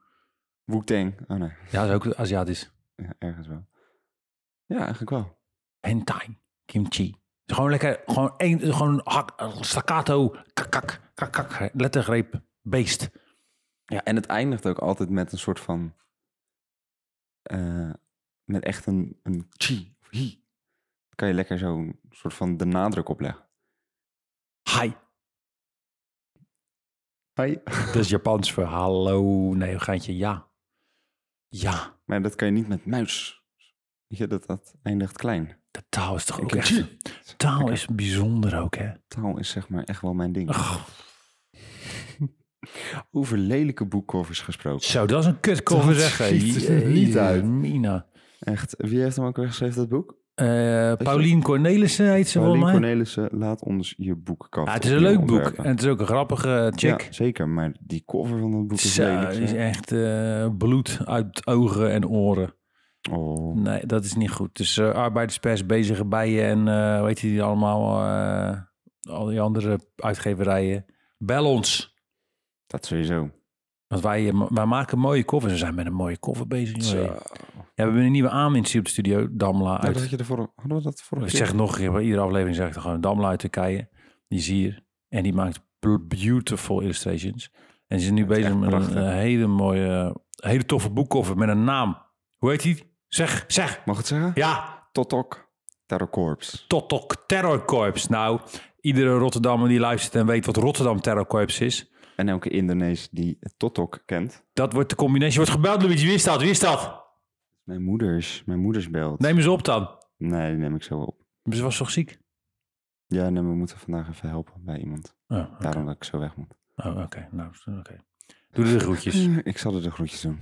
B: Wu-tang. Oh nee,
A: Ja, dat is ook Aziatisch.
B: ja, ergens wel. Ja, eigenlijk wel.
A: Hentai. Kimchi. Het is Gewoon lekker, gewoon één, gewoon hak, staccato, kakak, kakak, lettergreep, beest.
B: Ja, en het eindigt ook altijd met een soort van... eh, met echt een, een chi of hi. Dan kan je lekker zo'n soort van de nadruk opleggen.
A: Hi.
B: Hi.
A: Dat is Japans voor hallo. Nee, geintje, ja. Ja.
B: Maar dat kan je niet met muis. Weet je, dat, dat eindigt klein.
A: De taal is toch ook
B: Een
A: echt...
B: chi.
A: Taal is bijzonder ook, hè?
B: Taal is zeg maar echt wel mijn ding.
A: Ach,
B: Over lelijke boekcovers gesproken.
A: Zo, dat is een kutcover
B: Dat
A: zeggen.
B: ziet er niet
A: Jezus,
B: uit.
A: Mina.
B: Echt, wie heeft hem ook weer geschreven, dat boek?
A: Eh Paulien Cornelissen heet ze volgens
B: Paulien
A: mij.
B: Cornelissen, laat ons je boek kaft.
A: Ja, het is een leuk boek. En het is ook een grappige chick.
B: Ja, zeker, maar die cover van dat boek is
A: Zo,
B: lelijk.
A: die is
B: zeg.
A: echt eh, bloed uit ogen en oren.
B: Oh,
A: Nee, dat is niet goed. Dus eh arbeidspers, bezige bijen en eh weet je die allemaal, eh, al die andere uitgeverijen. Bel ons.
B: dat sowieso.
A: Want wij, eh, wij maken mooie covers. We zijn met een mooie cover bezig.
B: Zo.
A: joh. Ja, we hebben een nieuwe aanwinst hier op de studio, Damla.
B: Nou, dat
A: Uit
B: had je de vorige, hadden we dat vorige
A: Ik
B: keer?
A: zeg het nog een keer, bij iedere aflevering zeg ik het gewoon. Damla uit Turkije, die is hier. En die maakt b- beautiful illustrations. En ze is nu
B: is
A: bezig
B: echt
A: met een,
B: prachtig.
A: eh, hele mooie, eh, hele toffe boekkoffer met een naam. Hoe heet die? Zeg, zeg.
B: Mag ik het zeggen?
A: Ja,
B: Totok Terror Corps.
A: Totok Terror Corps. Nou, iedere Rotterdammer die luistert en weet wat Rotterdam Terror Corps is.
B: En elke Indonees die Totok kent.
A: Dat wordt de combinatie. Wordt gebeld, Luigi. Wie is dat? Wie is dat?
B: Mijn moeders, mijn moeders belt.
A: Neem eens op dan.
B: nee, die neem ik zo op.
A: Ze was toch ziek?
B: Ja, nee, we moeten vandaag even helpen bij iemand.
A: Oh, oké.
B: Daarom dat ik zo weg moet.
A: Oh, oké. Nou, oké. Doe de groetjes.
B: [LAUGHS] Ik zal er de groetjes doen.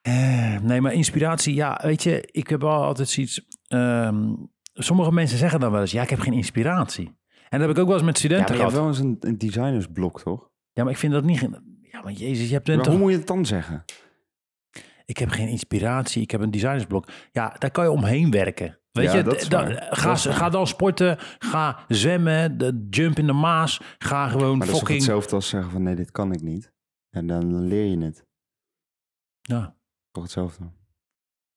A: Eh, nee, maar inspiratie, ja, weet je, ik heb wel altijd zoiets. ehm, sommige mensen zeggen dan wel eens, ja, ik heb geen inspiratie. En dat heb ik ook wel eens met
B: Ja,
A: studenten
B: maar je
A: gehad.
B: hebt wel eens een, een designersblok, toch?
A: Ja, maar ik vind dat niet. geen- Ja, maar Jezus, je hebt een
B: Maar hoe moet je het dan zeggen?
A: Ik heb geen inspiratie, ik heb een designersblok. Ja, daar kan je omheen werken. Weet
B: Ja,
A: je,
B: dat is
A: d- dan-
B: waar.
A: ga,
B: Dat is waar.
A: ga dan sporten, ga zwemmen, de jump in de Maas, ga gewoon
B: Maar dat
A: fucking.
B: is toch hetzelfde als zeggen van nee, dit kan ik niet. En dan leer je het.
A: Ja,
B: Toch
A: [LAUGHS]
B: hetzelfde.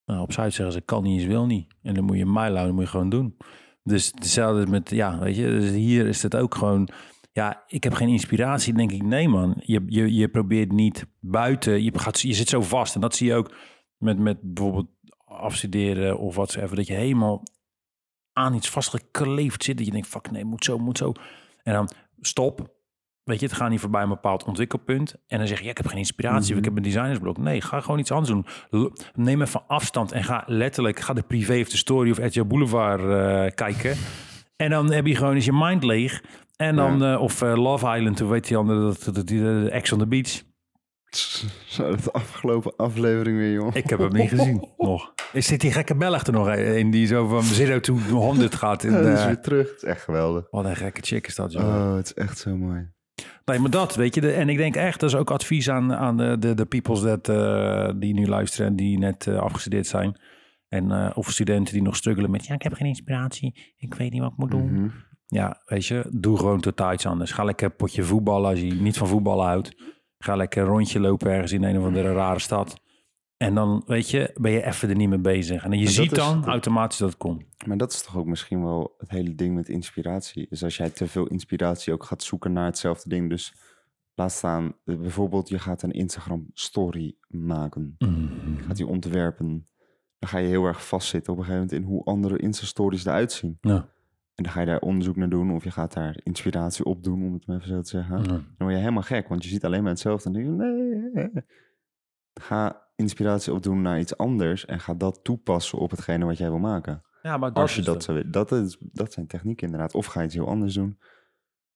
A: nou, op Zuid zeggen ze kan niet, is wil niet. En dan moet je mij dan moet je gewoon doen. Dus hetzelfde met, ja, weet je, dus hier is het ook gewoon. Ja, ik heb geen inspiratie, denk ik. Nee, man. Je, je, je probeert niet buiten. Je, gaat, je zit zo vast. En dat zie je ook met, met bijvoorbeeld afstuderen of wat Dat je helemaal aan iets vastgekleefd zit. Dat je denkt, fuck nee, moet zo, moet zo. En dan stop. Weet je, het gaat niet voorbij een bepaald ontwikkelpunt. En dan zeg je, ja, ik heb geen inspiratie. of Ik heb een designersblok. Nee, ga gewoon iets anders doen. L- Neem even afstand en ga letterlijk... Ga de privé of de story of RTL Boulevard eh, kijken. En dan heb je gewoon eens je mind leeg. En dan, eh, of eh, Love Island, hoe weet die andere, dat, dat, die, eh, Ex on the Beach.
B: Zo, dat afgelopen aflevering weer, joh.
A: Ik heb hem niet gezien [LAUGHS] nog. Er zit die gekke Belg er nog een die zo van 0 to 100 gaat. [LAUGHS] In,
B: Ja, dat is
A: eh,
B: weer terug. Het is echt geweldig.
A: wat een gekke chick is dat, joh.
B: Oh, het is echt zo mooi.
A: Nee, maar dat, weet je. de- en ik denk echt, dat is ook advies aan, aan de, de, de peoples that, eh, die nu luisteren en die net eh, afgestudeerd zijn. En, eh, of studenten die nog struggelen met, ja, ik heb geen inspiratie. Ik weet niet wat ik moet doen.
B: Mhm.
A: Ja, weet je, doe gewoon totaal iets anders. Ga lekker een potje voetballen als je niet van voetballen houdt. Ga lekker een rondje lopen ergens in een of andere rare stad. En dan, weet je, ben je even er niet mee bezig. En je
B: dat
A: ziet
B: is-
A: dan automatisch dat het komt.
B: Maar dat is toch ook misschien wel het hele ding met inspiratie. Is als jij te veel inspiratie ook gaat zoeken naar hetzelfde ding. Dus laat staan, eh, bijvoorbeeld je gaat een Instagram story maken. Je Mhm. gaat die ontwerpen. Dan ga je heel erg vastzitten op een gegeven moment in hoe andere Insta stories eruit zien.
A: Ja.
B: En dan ga je daar onderzoek naar doen of je gaat daar inspiratie op doen, om het maar even zo te zeggen.
A: Ja.
B: Dan word je helemaal gek, want je ziet alleen maar hetzelfde en denk je, nee. Ga inspiratie opdoen naar iets anders en ga dat toepassen op hetgene wat jij wil maken.
A: Ja, maar
B: Als je dat zou willen. Dat, is, dat zijn technieken inderdaad. Of ga je iets heel anders doen.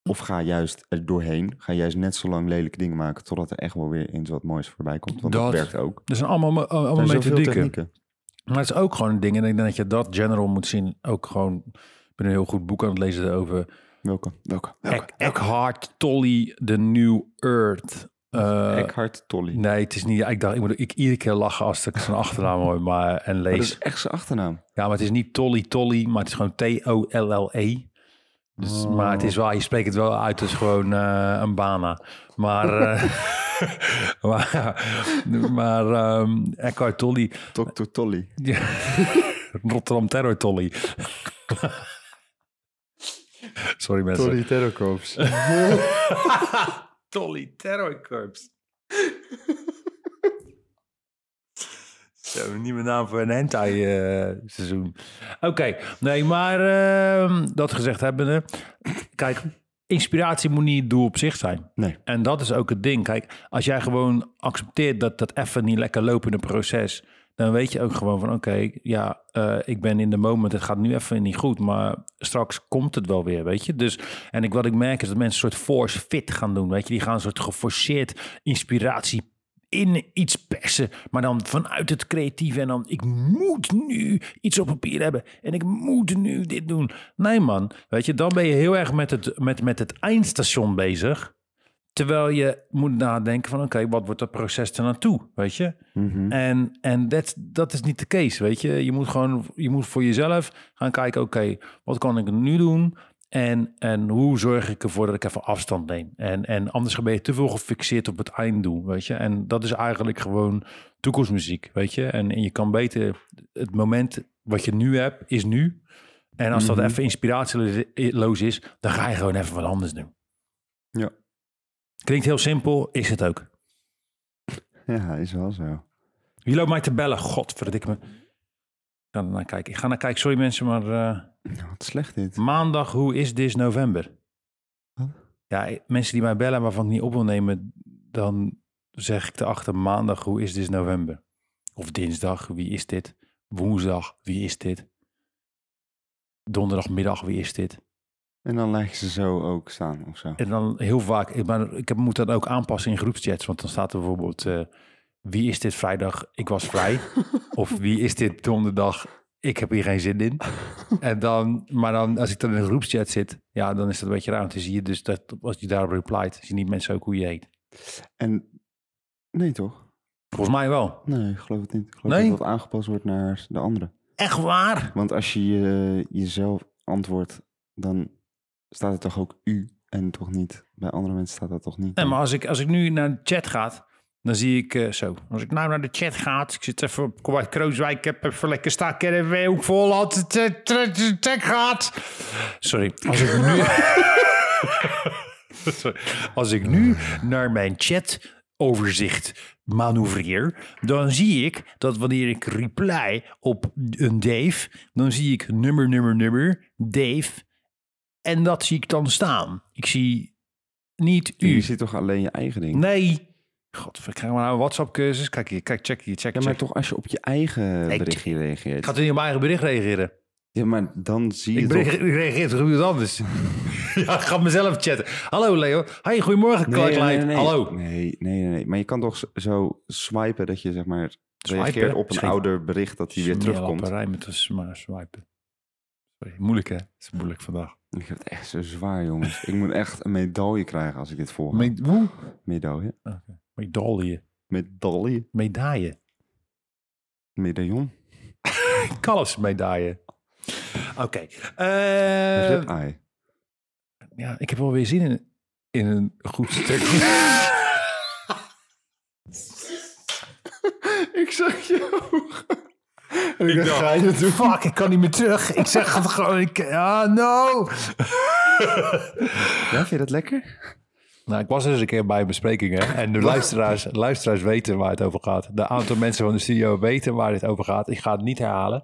B: Of ga juist er doorheen. Ga juist net zo lang lelijke dingen maken totdat er echt wel weer eens wat moois voorbij komt. Want dat,
A: Dat-
B: werkt ook.
A: Dat zijn allemaal, me-
B: Er
A: allemaal
B: zijn zoveel
A: methodieken.
B: technieken.
A: Maar het is ook gewoon een ding. En ik denk dat je dat general moet zien. Ook gewoon, ik ben een heel goed boek aan het lezen over
B: Welke? Welke? Welke?
A: Eck- Eckhart Tolle, The New Earth. Eh,
B: Eckhart Tolle.
A: nee, het is niet. Ik dacht, ik moet ik iedere keer lachen als ik zijn achternaam hoor maar, en
B: Maar
A: lees.
B: dat is echt zijn achternaam.
A: Ja, maar het is niet Tolly Tolly, maar het is gewoon T-O-L-L-E. E. Dus,
B: Oh.
A: Maar het is wel, je spreekt het wel uit als gewoon eh, een bana. Maar, eh, maar, [LAUGHS] maar ehm, Eckhart Tolle,
B: Dr. Tolle.
A: ja, [LAUGHS] Rotterdam Terror Tolly. [LAUGHS] Sorry mensen.
B: Tolle Terrorcoops.
A: Tolly Terror Corps. [LAUGHS] Zo, niet mijn naam voor een hentai eh, seizoen. Oké, nee, maar ehm, dat gezegd hebbende. Kijk, inspiratie moet niet het doel op zich zijn.
B: Nee.
A: En dat is ook het ding. Kijk, als jij gewoon accepteert dat dat even niet lekker lopende proces... dan weet je ook gewoon van, oké, ja, eh, ik ben in de moment. Het gaat nu even niet goed, maar straks komt het wel weer, weet je. Dus, en ik, wat ik merk is dat mensen een soort force fit gaan doen, weet je. Die gaan een soort geforceerd inspiratie in iets persen, maar dan vanuit het creatieve en dan ik moet nu iets op papier hebben en ik moet nu dit doen. Nee man, weet je, dan ben je heel erg met het, met, met het eindstation bezig. Terwijl je moet nadenken van oké, wat wordt dat proces er naartoe, weet je?
B: Mhm.
A: En, en dat- dat is niet de case, weet je. Je moet gewoon je moet voor jezelf gaan kijken, oké, wat kan ik nu doen? En, en hoe zorg ik ervoor dat ik even afstand neem? En, en anders ben je te veel gefixeerd op het einddoel, weet je. En dat is eigenlijk gewoon toekomstmuziek, weet je. En, en je kan beter, het moment wat je nu hebt, is nu. En als dat
B: Mhm.
A: even inspiratieloos is, dan ga je gewoon even wat anders doen.
B: Ja.
A: Klinkt heel simpel, is het ook.
B: Ja, is wel zo. Nou,
A: Wie loopt mij te bellen? Godverdikke me. Ik ga er naar kijken. Ik ga naar kijken. Sorry mensen, maar eh,
B: Nou, Wat slecht dit.
A: maandag, hoe is dit november?
B: Huh?
A: Ja, eh, mensen die mij bellen waarvan ik niet op wil nemen, dan zeg ik erachter maandag, hoe is dit november? Of dinsdag, wie is dit? Woensdag, wie is dit? Donderdagmiddag, wie is dit?
B: En dan laat je ze zo ook staan of zo.
A: En dan heel vaak, ik, ben, ik heb, moet dat ook aanpassen in groepschats. Want dan staat er bijvoorbeeld, eh, wie is dit vrijdag? Ik was [LAUGHS] vrij. of wie is dit donderdag? Ik heb hier geen zin in. En dan, maar dan, als ik dan in een groepschat zit, ja, dan is dat een beetje raar. Want dan zie je dus dat als je daarop replyt, zien die mensen ook hoe je heet.
B: En nee toch?
A: Volgens mij wel.
B: Nee, ik geloof het niet. Ik geloof
A: Nee?
B: dat dat aangepast wordt naar de andere.
A: Echt waar?
B: Want als je je- jezelf antwoordt, dan staat er toch ook u en toch niet. Bij andere mensen staat dat toch niet.
A: Nee, maar als ik, als ik nu naar de chat ga, dan zie ik eh, zo. Als ik nou naar de chat ga, ik zit even op Kwart Krooswijk, ik heb even lekker staan, ik ook eh, vol had, chat gaat. Sorry, als ik nu... [LAUGHS] Sorry. Als ik nu naar mijn chatoverzicht manoeuvreer, dan zie ik dat wanneer ik reply op een Dave, dan zie ik nummer, nummer, nummer, Dave. En dat zie ik dan staan. Ik zie niet
B: Je
A: u.
B: ziet toch alleen je eigen ding?
A: Nee. God, ik krijg maar nou een WhatsApp-cursus. Kijk hier, kijk, check hier, check,
B: Ja, maar
A: check.
B: toch als je op je eigen berichtje reageert.
A: Ik ga er niet op mijn eigen bericht reageren.
B: Ja, maar dan zie je
A: Ik, [LAUGHS]
B: toch...
A: ben- ik reageer toch op iemand anders? [LAUGHS] ja, ik ga mezelf chatten. Hallo Leo. Hi, goedemorgen
B: Nee,
A: Clark
B: nee,
A: Light.
B: nee.
A: Hallo.
B: Nee, nee, nee, nee. Maar je kan toch z- zo swipen dat je zeg maar reageert
A: Swipen?
B: op een
A: Swipen.
B: ouder bericht dat hij weer terugkomt.
A: Smeerlapperij met een sma- swipen. Sorry, moeilijk hè? Het is moeilijk vandaag.
B: Ik heb het echt zo zwaar, jongens. ik moet echt een medaille krijgen als ik dit volg.
A: Me hoe?
B: medaille?
A: Medaille.
B: Medaille?
A: Medaille.
B: Medaillon?
A: Kalfsmedaille. Oké.
B: Of
A: Eh,
B: rib eye?
A: ja, ik heb wel weer zin in, in een goed stuk.
B: [LAUGHS] [LAUGHS] Ik zag je ogen.
A: ik dacht,
B: ga je doen?
A: Fuck, ik kan niet meer terug. Ik zeg het gewoon. Ik, ah, no.
B: Ja, vind je dat lekker?
A: Nou, ik was er eens een keer bij een bespreking. Hè? En de luisteraars, luisteraars weten waar het over gaat. De aantal mensen van de studio weten waar het over gaat. Ik ga het niet herhalen.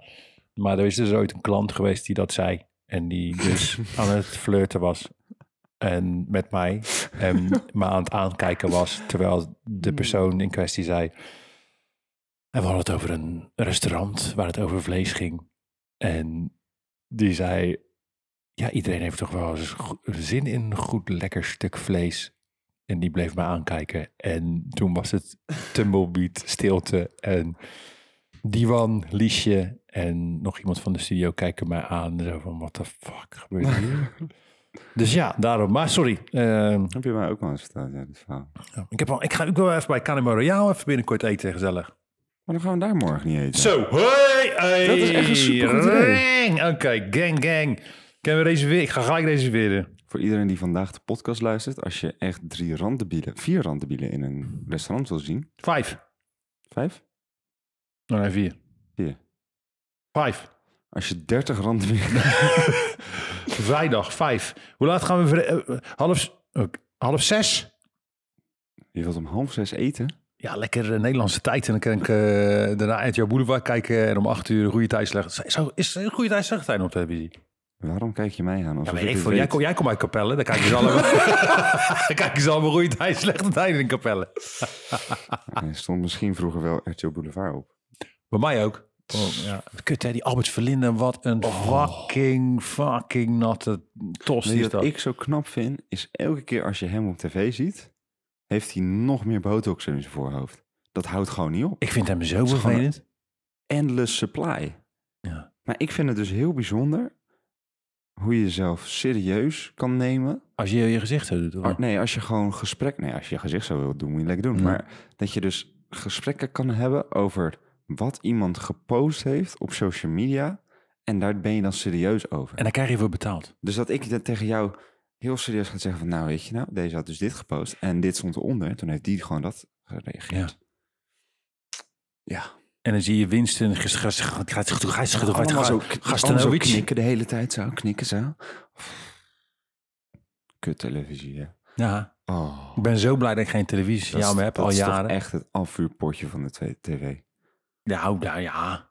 A: Maar er is dus ooit een klant geweest die dat zei. En die dus aan het flirten was. En met mij. En me aan het aankijken was. Terwijl de persoon in kwestie zei. En we hadden het over een restaurant waar het over vlees ging. En die zei. Ja, iedereen heeft toch wel eens go- zin in een goed lekker stuk vlees. En die bleef me aankijken. En toen was het tumblebeat, stilte. En Diwan, Liesje en nog iemand van de studio kijken mij aan. Zo van, what the fuck gebeurt [LAUGHS] hier? dus ja, daarom. Maar sorry. ehm,
B: Heb je mij ook wel eens verteld, ja, dit verhaal.
A: ja, ik, heb al, ik ga ook wel even bij Canemo Royale even binnenkort eten, gezellig.
B: Maar dan gaan we daar morgen niet eten.
A: Zo, hoi! hey,
B: Dat is echt een supergoed idee.
A: rang. Oké, gang, gang. Kunnen we reserveren? Ik ga gelijk reserveren.
B: Voor iedereen die vandaag de podcast luistert, als je echt drie randdebielen, vier randdebielen in een restaurant wil zien,
A: Vijf.
B: vijf?
A: Oh, nee, vier.
B: Vier.
A: Vijf.
B: Als je dertig randdebielen...
A: Vrijdag, vijf. Hoe laat gaan we... vri- eh, eh, half, s- eh, half zes?
B: [LAUGHS] Je wilt om half zes eten?
A: Ja, lekker eh, Nederlandse tijd. En dan kan ik eh, daarna uit jouw boulevard kijken. En om acht uur goede tijd, slechte tijd. Zo, is er een goede tijd, slechte tijd op televisie?
B: Waarom kijk je mij aan? Alsof
A: Ja, weet
B: ik
A: ik
B: dit
A: veel. Jij,
B: weet?
A: kom, jij komt uit Capelle. Dan kijken ze [LAUGHS] allemaal, dan kijken ze allemaal goede tijd, slechte tijden in Capelle.
B: Er stond misschien vroeger wel RTL Boulevard op.
A: Bij mij ook. Oh, ja. Kut hè, die Albert Verlinde. Wat een fucking, fucking natte tos die
B: Weet je
A: is
B: wat
A: dat.
B: ik zo knap vind? Is elke keer als je hem op tv ziet, heeft hij nog meer botox in zijn voorhoofd. Dat houdt gewoon niet op.
A: Ik vind hem zo
B: gewoon een-
A: vervelend.
B: Endless supply.
A: Ja.
B: Maar ik vind het dus heel bijzonder hoe je jezelf serieus kan nemen.
A: Als je je gezicht zo doet. of
B: Maar
A: wat?
B: Nee, als je gewoon gesprek... Nee, als je je gezicht zo wilt doen, moet je lekker doen.
A: Ja.
B: Maar dat je dus gesprekken kan hebben over wat iemand gepost heeft op social media. En daar ben je dan serieus over.
A: En daar krijg je voor betaald.
B: Dus dat ik dan tegen jou heel serieus ga zeggen van... nou, weet je nou, deze had dus dit gepost en dit stond eronder. Toen heeft die gewoon dat gereageerd. Ja.
A: En dan zie je Winston ges- ges- ges- ges- ges- ges- ges- ges-
B: allemaal zo
A: Gastanovic.
B: knikken de hele tijd zo, knikken zo. Kut televisie, hè.
A: Ja,
B: Oh,
A: ik ben zo blij dat ik geen
B: dat is-
A: televisiesignaal meer heb,
B: dat
A: al
B: is toch
A: jaren.
B: echt het afvuurpotje van de tv- tv.
A: Nou, nou ja.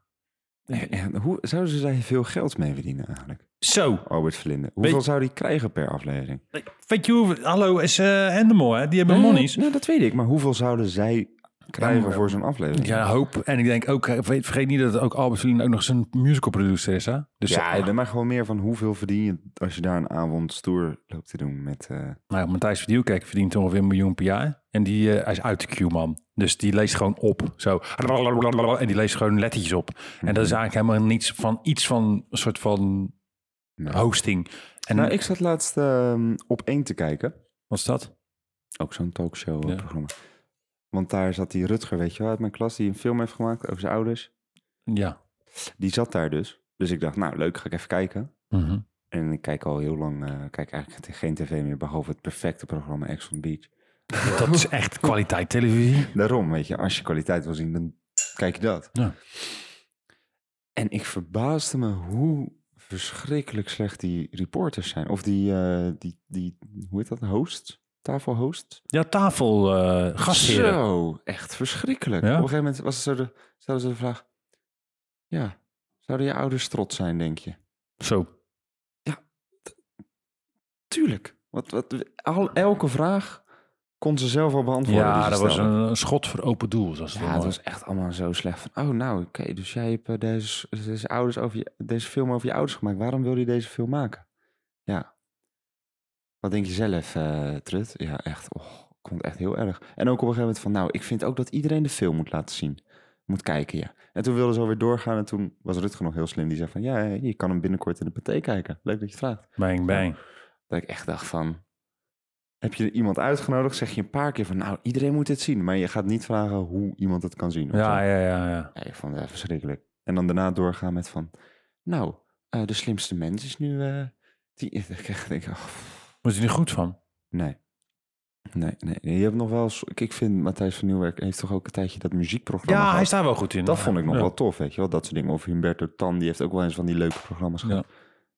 B: En, en hoe zouden ze daar veel geld mee verdienen eigenlijk?
A: Zo,
B: Albert Verlinde. Hoeveel
A: Weet-
B: zou die krijgen per aflevering?
A: weet je hoe... Hallo, is eh Endemol, hè? Die hebben monies.
B: Nou, dat weet ik. Maar hoeveel zouden zij krijgen
A: maar-
B: voor zo'n aflevering?
A: Ja, hoop. En ik denk ook, eh, weet- vergeet niet dat ook Albert Verlinde ook nog eens een musical producer is, hè? Dus
B: ja,
A: ja,
B: maar gewoon meer van hoeveel verdien je als je daar een avond stoer loopt te doen met... eh,
A: nou, Matthijs van Nieuwkerk verdient ongeveer een miljoen per jaar. En die, eh, hij is uit de queue, man. Dus die leest gewoon op, zo. En die leest gewoon lettertjes op. En dat is eigenlijk helemaal niets van, iets van een soort van
B: Nee.
A: hosting. En
B: Nou, ik zat laatst ehm, op één te kijken.
A: wat is dat?
B: Ook zo'n eh,
A: Ja.
B: talkshow-programma. Want daar zat die Rutger, weet je wel, uit mijn klas, die een film heeft gemaakt over zijn ouders.
A: Ja.
B: Die zat daar dus. Dus ik dacht, nou leuk, ga ik even kijken.
A: Mhm.
B: En ik kijk al heel lang, eh, kijk eigenlijk geen tv meer, behalve het perfecte programma Ex on the Beach.
A: Dat is echt kwaliteit televisie.
B: Daarom, weet je, als je kwaliteit wil zien, dan kijk je dat.
A: Ja.
B: En ik verbaasde me hoe verschrikkelijk slecht die reporters zijn. Of die, eh, die, die hoe heet dat, host? Tafelhost?
A: Ja, tafel, eh gastheren.
B: Zo, echt verschrikkelijk.
A: Ja.
B: Op een gegeven moment was het zo de, stelden ze de vraag... Ja, zouden je ouders trots zijn, denk je?
A: Zo.
B: Tuurlijk. Wat, wat, al, elke vraag kon ze zelf al beantwoorden.
A: Ja,
B: die
A: dat
B: ze
A: was
B: stelde.
A: een, een schot voor open doel. Zoals ze
B: Ja,
A: dat
B: het
A: noemen.
B: was echt allemaal zo slecht. Van, oh, nou, oké, dus jij hebt eh, deze, deze, ouders over je, deze film over je ouders gemaakt. Waarom wil je deze film maken? Ja. Wat denk je zelf, eh, Trut? Ja, echt. Oh, ik vond het echt heel erg. En ook op een gegeven moment van, nou, ik vind ook dat iedereen de film moet laten zien. Moet kijken, ja. En toen wilden ze alweer doorgaan en toen was Rutger nog heel slim. Die zei van, ja, je kan hem binnenkort in de paté kijken. Leuk dat je het vraagt.
A: Bang, bang.
B: Dat ik echt dacht van... Heb je iemand uitgenodigd, zeg je een paar keer van... Nou, iedereen moet dit zien. Maar je gaat niet vragen hoe iemand het kan zien. of zo.
A: Ja, ja, ja, ja.
B: Ja, ik vond het echt verschrikkelijk. En dan daarna doorgaan met van... Nou, eh, de slimste mens is nu... eh, die, [LAUGHS] ik echt denk, oh, pff,
A: Was hij er goed van?
B: nee. nee. Nee, je hebt nog wel... eens- Ik ik vind Matthijs van Nieuwwerk heeft toch ook een tijdje dat muziekprogramma
A: Ja, hij
B: gehad?
A: staat wel goed in.
B: Dat vond ik nog
A: Ja.
B: wel tof, weet je wel. Dat soort dingen. Of Humberto Tan, die heeft ook wel eens van die leuke programma's gehad.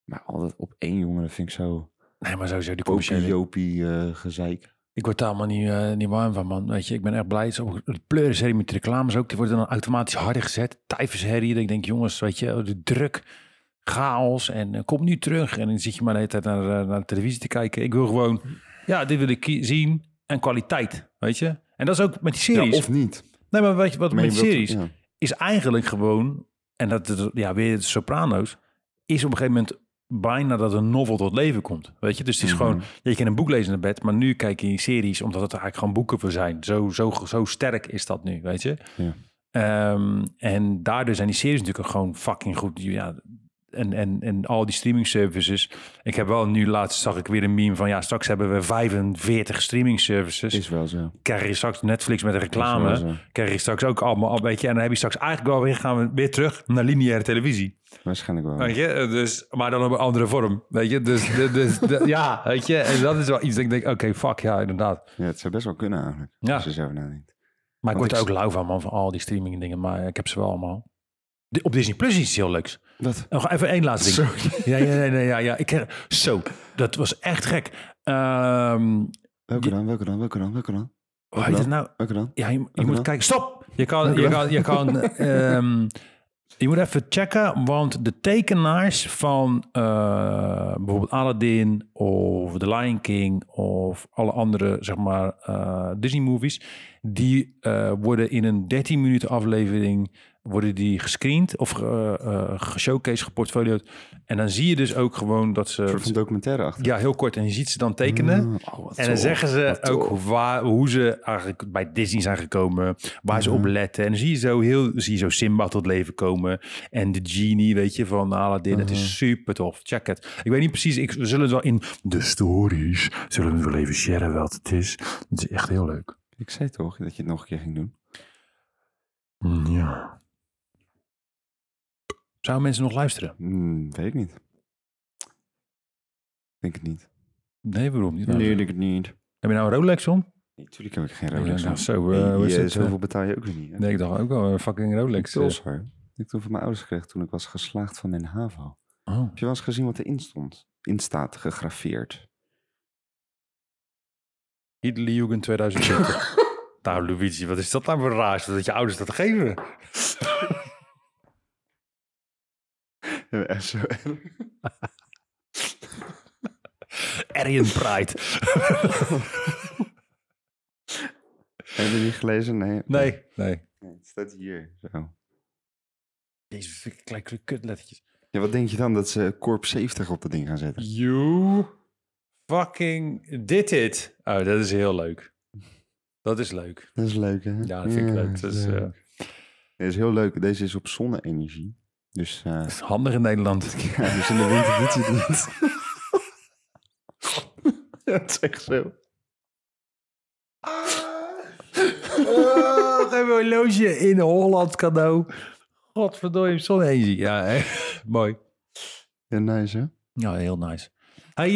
B: Maar altijd op één jongeren vind ik zo...
A: Nee, maar sowieso die
B: Popie,
A: commerciële.
B: jopie, eh, gezeik.
A: Ik word daar allemaal niet, eh, niet warm van, man. Weet je, ik ben echt blij. Het is ook- De pleurenserie met de reclames ook, die worden dan automatisch harder gezet. Tyfusherrie, dat ik denk, jongens, weet je, de druk, chaos en eh, kom nu terug. En dan zit je maar de hele tijd naar, eh, naar de televisie te kijken. Ik wil gewoon, ja, dit wil ik ki- zien en kwaliteit, weet je. En dat is ook met die series.
B: of niet.
A: Nee, maar weet je wat
B: Maar je
A: met
B: wilt-
A: series?
B: ja.
A: is eigenlijk gewoon, en dat, dat- ja, weer de Soprano's, is op een gegeven moment bijna dat een novel tot leven komt. Weet je, dus het is gewoon, ja, je kan een boek lezen naar bed, maar nu kijk je in series, omdat het er eigenlijk gewoon boeken voor zijn. Zo, zo, zo sterk is dat nu, weet je.
B: Ja.
A: Ehm, en daardoor zijn die series natuurlijk ook gewoon fucking goed. Ja, en, en, en al die streaming services. Ik heb wel nu laatst zag ik weer een meme van ja, straks hebben we 45 streaming services
B: Is wel zo.
A: krijg je straks Netflix met een
B: Dat is wel
A: reclame.
B: zo.
A: Krijg je straks ook allemaal, al- weet je. En dan heb je straks eigenlijk wel weer, gaan we weer terug naar lineaire televisie.
B: Waarschijnlijk wel.
A: Weet je, eh, dus, maar dan op een andere vorm. Weet je, dus, de- dus [LAUGHS] de- ja, weet je. En dat is wel iets dat ik denk, oké, fuck, ja, inderdaad.
B: Ja, het zou best wel kunnen eigenlijk.
A: Ja.
B: Als je zo nadenkt.
A: Maar ik word
B: Want
A: er
B: ik-
A: ook lauw van, man, van al die streaming dingen. Maar ik heb ze wel allemaal. Di- Op Disney Plus is iets heel leuks.
B: Wat?
A: Nog even één laatste ding. Ja, ja, ja, ja, ja, ja. Ik, her- zo, dat was echt gek. Ehm
B: Welke dan? Welke dan? Welke dan? Welke dan?
A: hoe heet het nou?
B: Welke dan?
A: Ja, je, je
B: Dank u
A: moet
B: wel.
A: kijken. Stop! Je kan,
B: u
A: je
B: wel.
A: kan, je kan, [LAUGHS] ehm, je moet even checken, want de tekenaars van eh, bijvoorbeeld Aladdin of The Lion King of alle andere, zeg maar, eh, Disney-movies, die eh, worden in een 13 minuten aflevering worden die gescreend of ge- eh geshowcased, geportfolioed. En dan zie je dus ook gewoon dat ze...
B: Een soort van documentaire achter.
A: Ja, heel kort. En je ziet ze dan tekenen. en dan zeggen ze ook waar, hoe ze eigenlijk bij Disney zijn gekomen. Waar ze op letten. En dan zie je zo heel zie je zo Simba tot leven komen. En de genie, weet je, van Aladdin. Het is super tof. Check het. Ik weet niet precies. Ik, we zullen het wel in de stories. Zullen we wel even sharen wat het is. Het is echt heel leuk.
B: Ik zei toch dat je het nog een keer ging doen?
A: Mm, Ja. Zouden mensen nog luisteren?
B: Hmm, weet ik niet. Denk het niet.
A: Nee, waarom niet?
B: denk het niet.
A: Heb je nou een Rolex om?
B: Natuurlijk heb ik geen Rolex.
A: Nou,
B: aan.
A: zo, eh, hoe
B: Hey,
A: is
B: eh,
A: het, eh?
B: Zoveel betaal je ook weer niet. hè?
A: Nee, ik dacht ook wel een fucking Rolex. eh.
B: Pils, hoor. Ik toen van mijn ouders kreeg toen ik was geslaagd van mijn HAVO.
A: Oh.
B: Heb je wel eens gezien wat erin stond? In staat gegraveerd.
A: Hitlerjugend [LAUGHS] 2020. nou, Luigi, wat is dat nou voor raars dat je ouders dat geven?
B: Ja, echt [LAUGHS] zo erg.
A: Aryan Pride. [LAUGHS]
B: Heb je die gelezen? Nee.
A: nee. Nee.
B: Nee, Het staat hier. Zo.
A: Jezus, ik kleine kutlettertjes.
B: Ja, wat denk je dan dat ze Corp 70 op dat ding gaan zetten?
A: You fucking did it. Oh, dat is heel leuk. Dat is leuk.
B: Dat is leuk, hè?
A: Ja, dat vind ik leuk. Dat is, eh,
B: leuk. Dit is heel leuk. Deze is op zonne-energie. Dus, [LAUGHS] eh,
A: dat is handig in Nederland.
B: ja, dus in de winter doet hij het niet. [LAUGHS] ja, het is echt zo.
A: Oh, Ah. een horloge in Holland cadeau. Godverdomme, zonne-energie. Ja, hè? [LAUGHS] mooi.
B: Ja, nice, hè?
A: Ja, heel nice. Hey,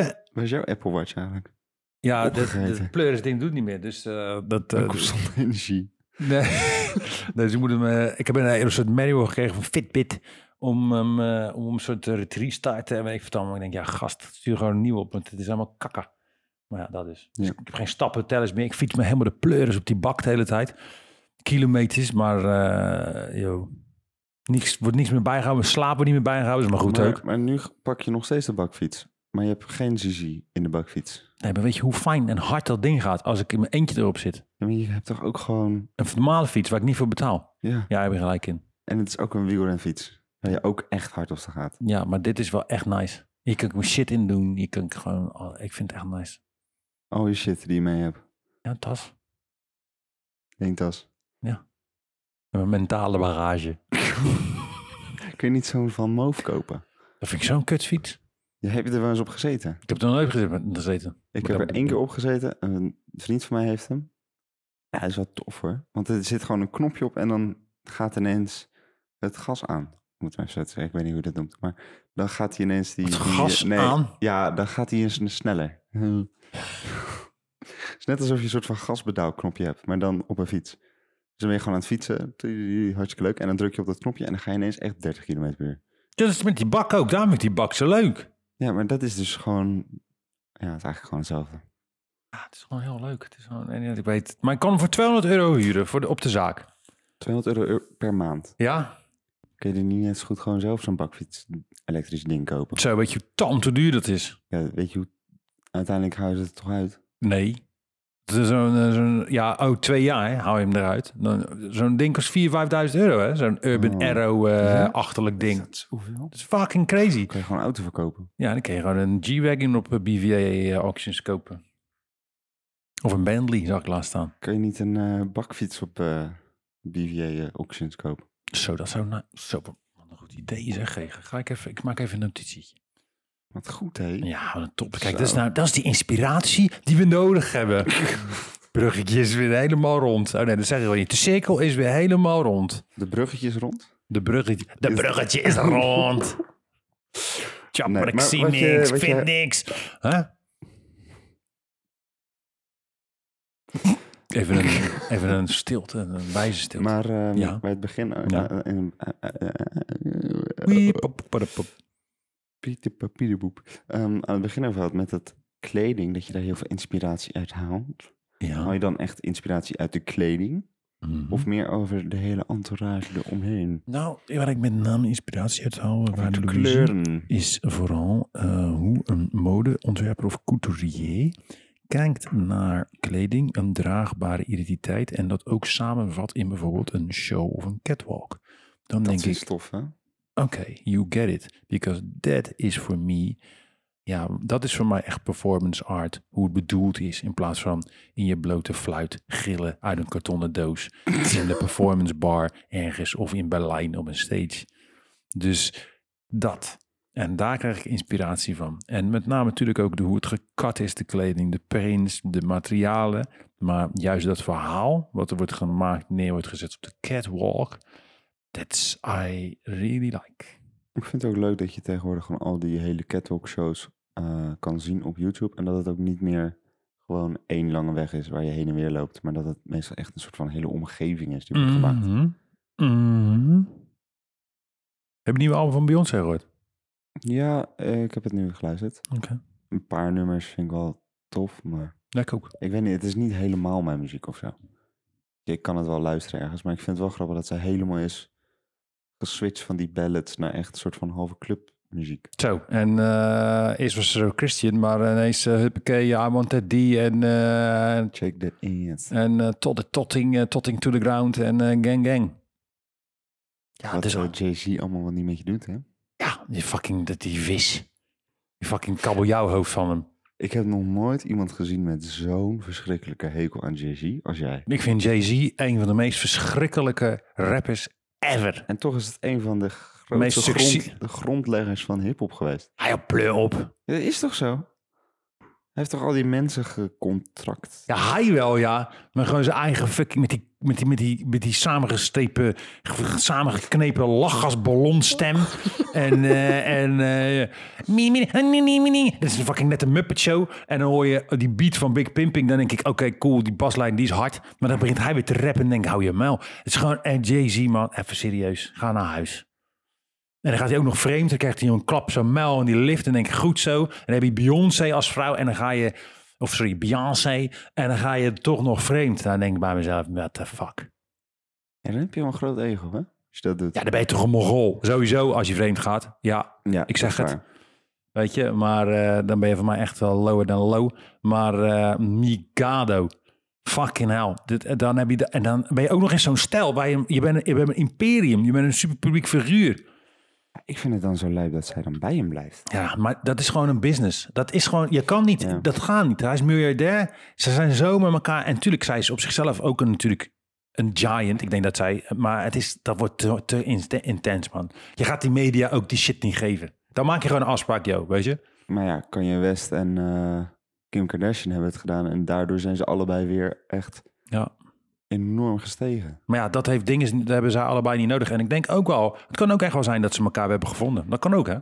A: eh
B: Waar is jouw Apple Watch eigenlijk?
A: ja, dat,
B: Opgegeten.
A: dat pleuris ding doet niet meer. Dus eh, dat, eh,
B: Ook op [LAUGHS] zonne-energie.
A: [LAUGHS] Nee, nee dus ik, moet hem, eh, ik heb een, eh, een soort manual gekregen van Fitbit om, hem, eh, om een soort eh, retrieve starten en weet ik vertel. Maar ik denk, ja gast, stuur gewoon een nieuw op, want het is allemaal kakka. Maar ja, dat is. Dus
B: Ja.
A: ik heb geen stappen tellers meer. Ik fiets me helemaal de pleuris op die bak de hele tijd. Kilometers, maar eh joh, niks, wordt niks meer bijgehouden. We slapen niet meer bijgehouden, is maar goed
B: maar,
A: ook.
B: maar nu pak je nog steeds de bakfiets. Maar je hebt geen Zizi in de bakfiets.
A: Nee, maar weet je hoe fijn en hard dat ding gaat als ik in mijn eentje erop zit?
B: Ja, maar je hebt toch ook gewoon...
A: Een normale fiets waar ik niet voor betaal.
B: Ja.
A: Ja, daar heb je gelijk in.
B: En het is ook een wielrenfiets. Waar je ook echt hard op gaat.
A: Ja, maar dit is wel echt nice. Hier kan ik mijn shit in doen. Hier kan ik gewoon... oh, ik vind het echt nice.
B: Al je shit die je mee hebt.
A: Ja, tas.
B: Denktas.
A: En Mijn mentale barrage.
B: Kun je niet zo'n Van Moof kopen?
A: Dat vind ik zo'n kutfiets.
B: Je hebt er wel eens op gezeten.
A: Ik heb er nog nooit gezeten- gezeten.
B: Ik
A: Maar
B: heb
A: dat-
B: er één keer op gezeten. Een vriend van mij heeft hem. Ja, hij is wel tof hoor. Want er zit gewoon een knopje op en dan gaat ineens het gas aan. Ik Moet maar even zo te zeggen. Ik weet niet hoe je dat noemt. Maar dan gaat hij ineens die...
A: Het
B: die-
A: gas
B: nee,
A: aan.
B: Ja, dan gaat hij eens sneller. [LAUGHS] Het is net alsof je een soort van gasbedouwknopje hebt, maar dan op een fiets. Dus dan ben je gewoon aan het fietsen, tudu, hartstikke leuk. En dan druk je op dat knopje en dan ga je ineens echt 30 km per uur.
A: Dat is met die bak ook. Daarom is die bak zo leuk.
B: Ja, maar dat is dus gewoon... Ja, het is eigenlijk gewoon hetzelfde.
A: Ja, het is gewoon heel leuk. Het is gewoon, en ik weet het. Maar ik kan hem voor 200 euro huren voor de, op de zaak.
B: 200 euro per maand.
A: Ja?
B: Kun je er niet net zo goed gewoon zelf zo'n bakfiets elektrisch ding kopen?
A: Zo weet je hoe tam te duur dat is.
B: Ja, weet je hoe... Uiteindelijk hou je het er toch uit.
A: Nee. Het is zo'n, eh, zo'n- ja, oh, twee jaar hè, hou je hem eruit. Dan, zo'n ding kost 4.000, 5.000 euro, hè? Zo'n Urban
B: Oh.
A: Arrow
B: Ja?
A: eh-achterlijk ding.
B: Is dat zoveel?
A: Dat is fucking crazy.
B: Kun je gewoon een auto verkopen.
A: Ja, dan kun je gewoon een G-Wagon op eh, BVA auctions kopen. Of een Bentley, zag ik laatst staan.
B: Kun je niet een eh, bakfiets op eh, BVA eh, auctions kopen?
A: Zo, dat zou nou... Zo, wat een goed idee zeg, Regen. Ga ik even... Ik maak even een notitietje.
B: Wat goed, hè?
A: Ja, wat een top. Kijk,
B: Zo.
A: dat is, nou, dat is die inspiratie die we nodig hebben. Bruggetje is weer helemaal rond. Oh nee, dat zeg ik wel niet. De cirkel is weer helemaal rond.
B: De bruggetjes rond.
A: De bruggetje, de
B: Is-
A: bruggetje is
B: [LAUGHS]
A: rond. Tja,
B: Nee,
A: maar ik
B: maar
A: zie
B: wat je-
A: niks,
B: wat
A: vind
B: je-
A: niks.
B: [LAUGHS]
A: Huh? Even een, even een stilte, een wijze stilte.
B: Maar ehm,
A: Ja.
B: bij het begin... eh,
A: Ja.
B: eh, eh, eh, eh, eh,
A: Wiep, pop, pop, pop.
B: Pieter papierboep. Ehm, aan het begin over had met dat kleding, dat je daar heel veel inspiratie uit haalt. Haal
A: Ja. Mhm.
B: je dan echt inspiratie uit de kleding? Of meer over de hele entourage eromheen?
A: Nou, waar ik met name inspiratie uit haal,
B: Of
A: waar
B: de
A: Louise-
B: kleuren?
A: is vooral eh, hoe een modeontwerper of couturier kijkt naar kleding, een draagbare identiteit en dat ook samenvat in bijvoorbeeld een show of een catwalk. Dan
B: Dat
A: denk
B: is
A: ik,
B: stof, hè?
A: oké, you get it. Because that is for me, ja, dat is voor mij echt performance art, hoe het bedoeld is, in plaats van in je blote fluit gillen uit een kartonnen doos in de performance bar ergens of in Berlijn op een stage. Dus dat. En daar krijg ik inspiratie van. En met name natuurlijk ook de, hoe het gekat is, de kleding, de prints, de materialen. Maar juist dat verhaal, wat er wordt gemaakt, neer wordt gezet op de catwalk. That's I really like.
B: Ik vind het ook leuk dat je tegenwoordig gewoon al die hele catwalk shows eh, kan zien op YouTube. En dat het ook niet meer gewoon één lange weg is waar je heen en weer loopt. Maar dat het meestal echt een soort van hele omgeving is die wordt gemaakt.
A: Mhm. Mhm. Heb je het nieuwe album van Beyoncé gehoord?
B: Ja, eh, ik heb het nu geluisterd.
A: Oké.
B: Een paar nummers vind ik wel tof, maar
A: Ja, ik ook.
B: ik weet niet, het is niet helemaal mijn muziek of zo. Ik kan het wel luisteren ergens, maar ik vind het wel grappig dat ze helemaal is geswitcht van die ballads naar echt een soort van halve clubmuziek.
A: Zo, en eh, eerst was ze zo Christian, maar ineens eh, huppakee, I want that D en, eh, en
B: Check that ass.
A: eh, tot de totting, eh, totting to the ground en eh, gang gang. Ja,
B: Wat
A: dat is
B: zou Jay-Z allemaal wat niet met je doet, hè?
A: Ja, die fucking, dat die vis. Die fucking kabeljauwhoofd van hem.
B: Ik heb nog nooit iemand gezien met zo'n verschrikkelijke hekel aan Jay-Z als jij.
A: Ik vind Jay-Z een van de meest verschrikkelijke rappers ever.
B: En toch is het een van de
A: Meest
B: grootste
A: succes-
B: grond- de grondleggers van hip-hop geweest.
A: Hij had pleur op.
B: Ja, Dat is toch zo? Hij heeft toch al die mensen gecontract?
A: Ja, hij wel, ja. Maar gewoon zijn eigen fucking... Met die, met die, met die, met die samengestepen, ge- samengeknepen lachgasballonstem. en... eh en eh, mie, mie, mie, mie, mie, mie. Dat is een fucking net een Muppet Show. En dan hoor je die beat van Big Pimping. Dan denk ik, oké, cool, die baslijn die is hard. Maar dan begint hij weer te rappen en denk ik, hou je muil. Het is gewoon... En Jay-Z, man, even serieus. Ga naar huis. En dan gaat hij ook nog vreemd. Dan krijgt hij een klap op zijn muil en die lift. En denk ik, goed zo. En dan heb je Beyoncé als vrouw. En dan ga je... Of sorry, Beyoncé. En dan ga je toch nog vreemd. Dan denk ik bij mezelf, what the fuck.
B: En dan heb je wel een groot ego, hè? Als je dat doet.
A: Ja, dan ben je toch een mogol. Sowieso als je vreemd gaat. Ja,
B: Ja,
A: ik zeg
B: dat is
A: het.
B: waar.
A: Weet je, maar eh, dan ben je van mij echt wel lower dan low. Maar eh, Mikado. Fucking hell. Dit, eh, dan heb je de- en dan ben je ook nog eens zo'n stijl. Bij een, je, bent, je bent een imperium. Je bent een superpubliek figuur.
B: Ik vind het dan zo leuk dat zij dan bij hem blijft.
A: Ja, maar dat is gewoon een business. Dat is gewoon, je kan niet,
B: Ja.
A: dat gaat niet. Hij is miljardair. Ze zijn zo met elkaar. En natuurlijk, zij is op zichzelf ook een, natuurlijk een giant. Ik denk dat zij, maar het is, dat wordt te, te inst- intens, man. Je gaat die media ook die shit niet geven. Dan maak je gewoon een afspraak, joh, weet je?
B: Maar ja, Kanye West en eh, Kim Kardashian hebben het gedaan. En daardoor zijn ze allebei weer echt
A: Ja.
B: enorm gestegen.
A: Maar ja, dat heeft dingen, dat hebben zij allebei niet nodig. En ik denk ook wel, het kan ook echt wel zijn dat ze elkaar hebben gevonden. Dat kan ook, hè?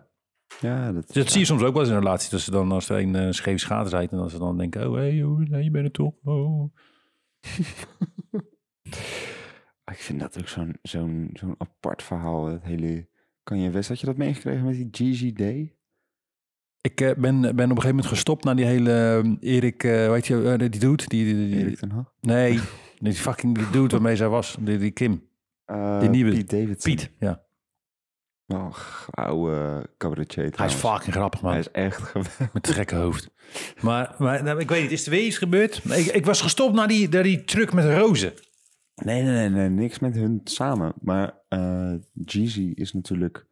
B: Ja, dat
A: Dus dat zie je soms ook wel eens in een relatie. Dat ze dan, als er een eh, scheef schater zijt en dat ze dan denken, oh, hey, joh, nee, je bent het toch. Oh.
B: Ah, Ik vind dat ook zo'n zo'n zo'n apart verhaal. Dat hele Kanye West, had je dat meegekregen met die Gigi Day?
A: Ik eh, ben, ben op een gegeven moment gestopt naar die hele eh, Erik, eh, weet je, eh, die dude. Die, die- die-
B: Erik ten Hag?
A: Nee, [LAUGHS] die fucking die dude waarmee zij was. Die, die Kim.
B: Eh,
A: Die nieuwe-
B: Pete Davidson.
A: Piet, ja.
B: Och, oude cabaretier
A: Hij is
B: trouwens.
A: fucking grappig, man.
B: Hij is echt [LAUGHS] geweldig.
A: Met het gekke hoofd. Maar, maar nou, ik weet niet, is er weer iets gebeurd? Maar Ik, ik was gestopt naar die, naar die truck met rozen.
B: Nee, nee, nee, nee, niks met hun samen. Maar eh Jeezy is natuurlijk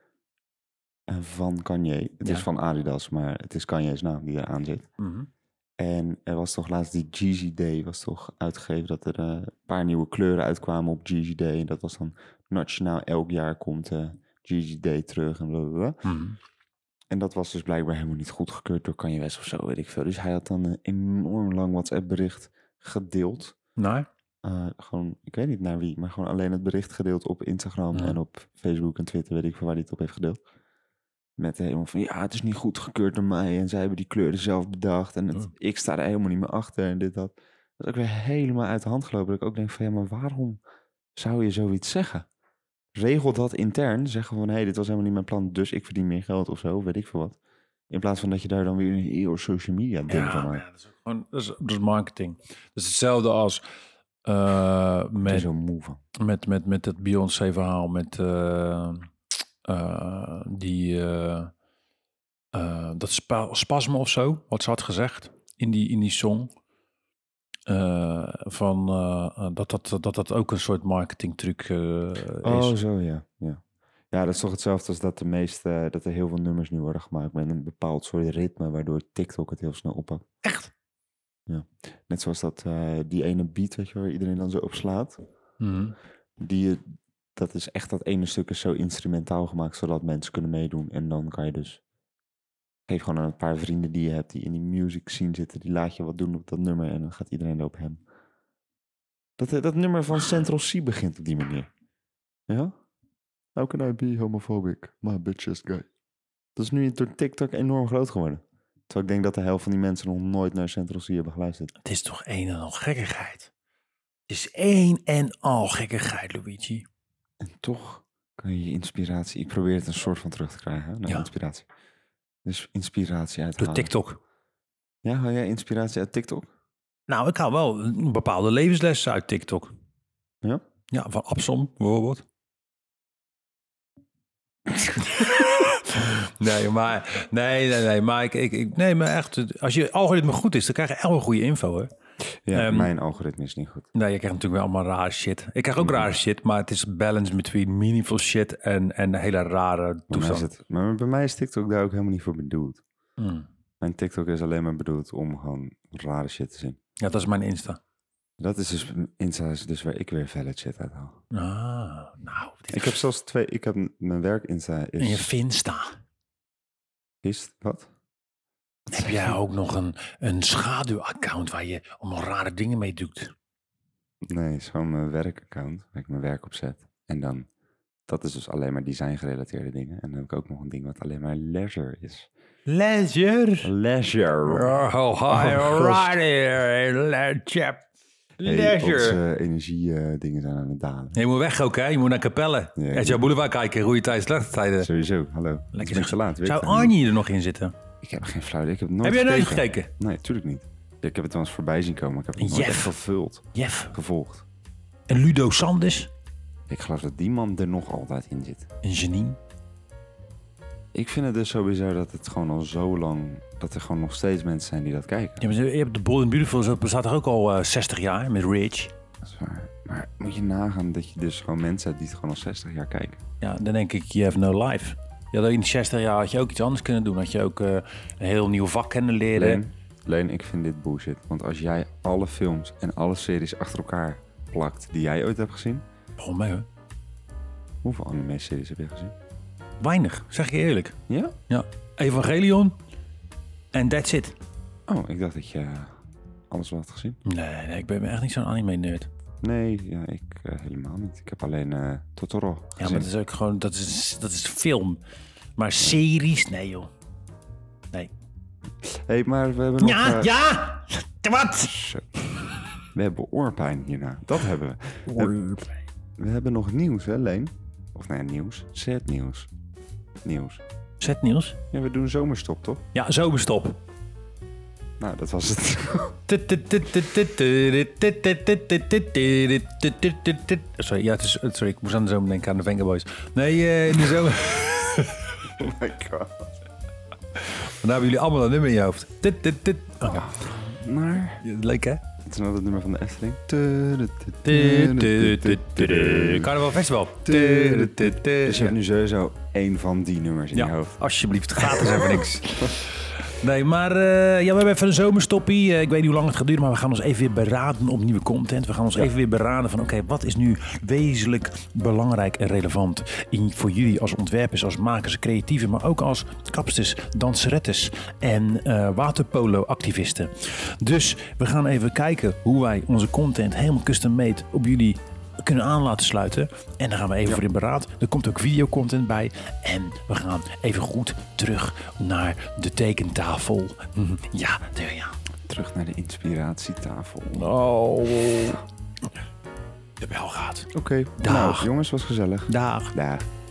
B: eh, van Kanye. Het
A: Ja.
B: is van Adidas, maar het is Kanye's naam die eraan zit.
A: Mhm.
B: En er was toch laatst die Jeezy Day, was toch uitgegeven dat er eh, een paar nieuwe kleuren uitkwamen op Jeezy Day. En dat was dan nationaal elk jaar komt eh Jeezy Day terug en blablabla.
A: Mhm.
B: En dat was dus blijkbaar helemaal niet goedgekeurd door Kanye West of zo, weet ik veel. Dus hij had dan een enorm lang WhatsApp bericht gedeeld.
A: Nou,
B: Eh, gewoon, ik weet niet naar wie, maar gewoon alleen het bericht gedeeld op Instagram
A: Ja.
B: en op Facebook en Twitter, weet ik van waar hij het op heeft gedeeld. Met helemaal van, ja, het is niet goedgekeurd door mij en zij hebben die kleuren zelf bedacht en het,
A: Ja.
B: ik sta er helemaal niet meer achter en dit, dat. Dat is ook weer helemaal uit de hand gelopen. Dat ik ook denk van, ja, maar waarom zou je zoiets zeggen? Regel dat intern, zeggen van, hé, hey, dit was helemaal niet mijn plan, dus ik verdien meer geld of zo, weet ik veel wat. In plaats van dat je daar dan weer een heel social media ding van
A: ja,
B: maakt.
A: ja, dat is ook gewoon, dat is, dat is marketing. Dat is hetzelfde als eh,
B: Ik ben
A: met
B: zo moe van.
A: Met, met, met het Beyoncé-verhaal, met eh, eh, die, eh, eh, dat spa- spasme of zo, wat ze had gezegd in die, in die song. Eh, van, eh, dat, dat, dat dat ook een soort marketingtruc eh, is.
B: Oh, zo ja. ja. Ja, dat is toch hetzelfde als dat de meeste, dat er heel veel nummers nu worden gemaakt met een bepaald soort ritme, waardoor TikTok het heel snel oppakt.
A: Echt?
B: Ja. Net zoals dat, eh, die ene beat, weet je, wel, waar iedereen dan zo op slaat.
A: Mhm.
B: Die, dat is echt dat ene stuk is zo instrumentaal gemaakt, zodat mensen kunnen meedoen. En dan kan je dus, geef gewoon aan een paar vrienden die je hebt, die in die music scene zitten, die laat je wat doen op dat nummer en dan gaat iedereen op hem. Dat, eh, dat nummer van Central C begint op die manier. Ja? How can I be homophobic? My bitch is gay. Dat is nu door TikTok enorm groot geworden. Terwijl ik denk dat de helft van die mensen nog nooit naar Central C hebben geluisterd.
A: Het is toch een en al gekkigheid. Het is één en al gekkigheid, Luigi.
B: En toch kan je je inspiratie... Ik probeer het een soort van terug te krijgen, hè, naar
A: Ja.
B: inspiratie. Dus inspiratie uit
A: Door
B: halen.
A: TikTok.
B: Ja, haal jij inspiratie uit TikTok?
A: Nou, ik haal wel een bepaalde levenslessen uit TikTok.
B: Ja?
A: Ja, van Absom
B: [LAUGHS]
A: bijvoorbeeld. nee, maar, nee, nee, nee, maar, ik, ik, ik, nee, maar echt, als je algoritme goed is, dan krijg je elke goede info. Hè?
B: Ja,
A: Ehm,
B: mijn algoritme is niet goed.
A: Nee, je krijgt natuurlijk wel allemaal rare shit. Ik krijg ook
B: Mm-hmm.
A: rare shit, maar het is balance between meaningful shit en, en hele rare
B: Bij mij is
A: toestand.
B: het, maar bij mij is TikTok daar ook helemaal niet voor bedoeld.
A: Mm.
B: Mijn TikTok is alleen maar bedoeld om gewoon rare shit te zien.
A: Ja, dat is mijn Insta.
B: Dat is dus, Insta is dus waar ik weer valid shit uit haal.
A: Ah, nou. Dit
B: Ik heb zelfs twee. Ik heb m- mijn werk Insta
A: En je
B: is.
A: Finsta.
B: Is wat?
A: Heb jij ook nog een, een schaduwaccount waar je allemaal rare dingen mee doet?
B: Nee, is gewoon mijn werkaccount. Waar ik mijn werk op zet. En dan. Dat is dus alleen maar design gerelateerde dingen. En dan heb ik ook nog een ding wat alleen maar leisure is.
A: Leisure.
B: Leisure.
A: Oh, hi, alright here, le- chap.
B: Hey,
A: Leisure.
B: onze energiedingen eh, zijn aan het dalen.
A: Je moet weg ook, hè? Je moet naar Capelle.
B: Ja,
A: Uit jouw boulevard kijken, goede tijd, slechte tijden.
B: Sowieso, hallo. Het is een beetje
A: zeg.
B: laat. weet
A: Zou
B: ik eigenlijk.
A: Arnie er nog in zitten?
B: Ik heb geen flauw idee, Ik heb het nooit
A: Heb jij nooit
B: gekeken.
A: gekeken?
B: Nee, tuurlijk niet. Ik heb het wel eens voorbij zien komen. maar Ik heb het nooit
A: Jeff.
B: echt vervuld,
A: Jeff.
B: gevolgd.
A: En Ludo Sanders.
B: Ik geloof dat die man er nog altijd in zit.
A: Een genie.
B: Ik vind het dus zo bizar dat het gewoon al zo lang... dat er gewoon nog steeds mensen zijn die dat kijken.
A: Je hebt, je hebt de Bold and Beautiful, dat bestaat toch ook al eh, 60 jaar met Rich.
B: Dat is waar. Maar moet je nagaan dat je dus gewoon mensen hebt die het gewoon al 60 jaar kijken.
A: Ja, dan denk ik, you have no life. Ja, dat in de 60 jaar had je ook iets anders kunnen doen. Had je ook eh, een heel nieuw vak kunnen leren.
B: Leen, Leen, ik vind dit bullshit. Want als jij alle films en alle series achter elkaar plakt die jij ooit hebt gezien...
A: Waarom mij hoor.
B: Hoeveel anime-series heb je gezien?
A: Weinig, zeg ik je eerlijk.
B: Ja?
A: Ja, Evangelion en that's it.
B: Oh, ik dacht dat je eh, alles wel had gezien.
A: Nee, nee ik ben echt niet zo'n anime-nerd.
B: Nee, ja, ik eh, helemaal niet. Ik heb alleen eh, Totoro gezien.
A: Ja, maar dat is ook gewoon, dat is, dat is film. Maar series, nee joh.
B: hey, maar we hebben nog... eh,
A: ja, wat?
B: Zo. We hebben oorpijn hierna. Dat hebben we. We hebben nog nieuws, hè, Leen? Of nee, nieuws. Sad nieuws. Nieuws.
A: Zet nieuws.
B: Ja, we doen zomerstop, toch?
A: Ja, zomerstop.
B: Nou, dat was het. [LAUGHS]
A: Sorry, ja, het is, sorry, ik moest aan de zomer denken aan de Vengaboys. Nee, eh, in de zomer. [LAUGHS]
B: oh my god.
A: Daar hebben jullie allemaal een nummer in je hoofd. Dit, dit, dit. Oké,
B: Maar...
A: Leuk hè?
B: Het is nou het nummer van de Efteling.
A: Carnaval Festival.
B: Dus je hebt nu sowieso één van die nummers in je
A: Ja,
B: hoofd. [LAUGHS]
A: alsjeblieft, gaat er even niks. Nee, maar eh, ja, we hebben even een zomerstoppie. Eh, ik weet niet hoe lang het gaat duren, maar we gaan ons even weer beraden op nieuwe content. We gaan ons even weer beraden van, oké, wat is nu wezenlijk belangrijk en relevant in, voor jullie als ontwerpers, als makers, creatieven, maar ook als kapsters, danserettes en eh, waterpolo-activisten. Dus we gaan even kijken hoe wij onze content helemaal custom-made op jullie kunnen aan laten sluiten. En dan gaan we even voor in beraad. Er komt ook videocontent bij. En we gaan even goed terug naar de tekentafel. Mhm. Ja, daar ja.
B: Terug naar de inspiratietafel. Oké.
A: Oh. De bel gaat.
B: Nou,
A: Dag.
B: jongens, was gezellig.
A: Dag.
B: Dag.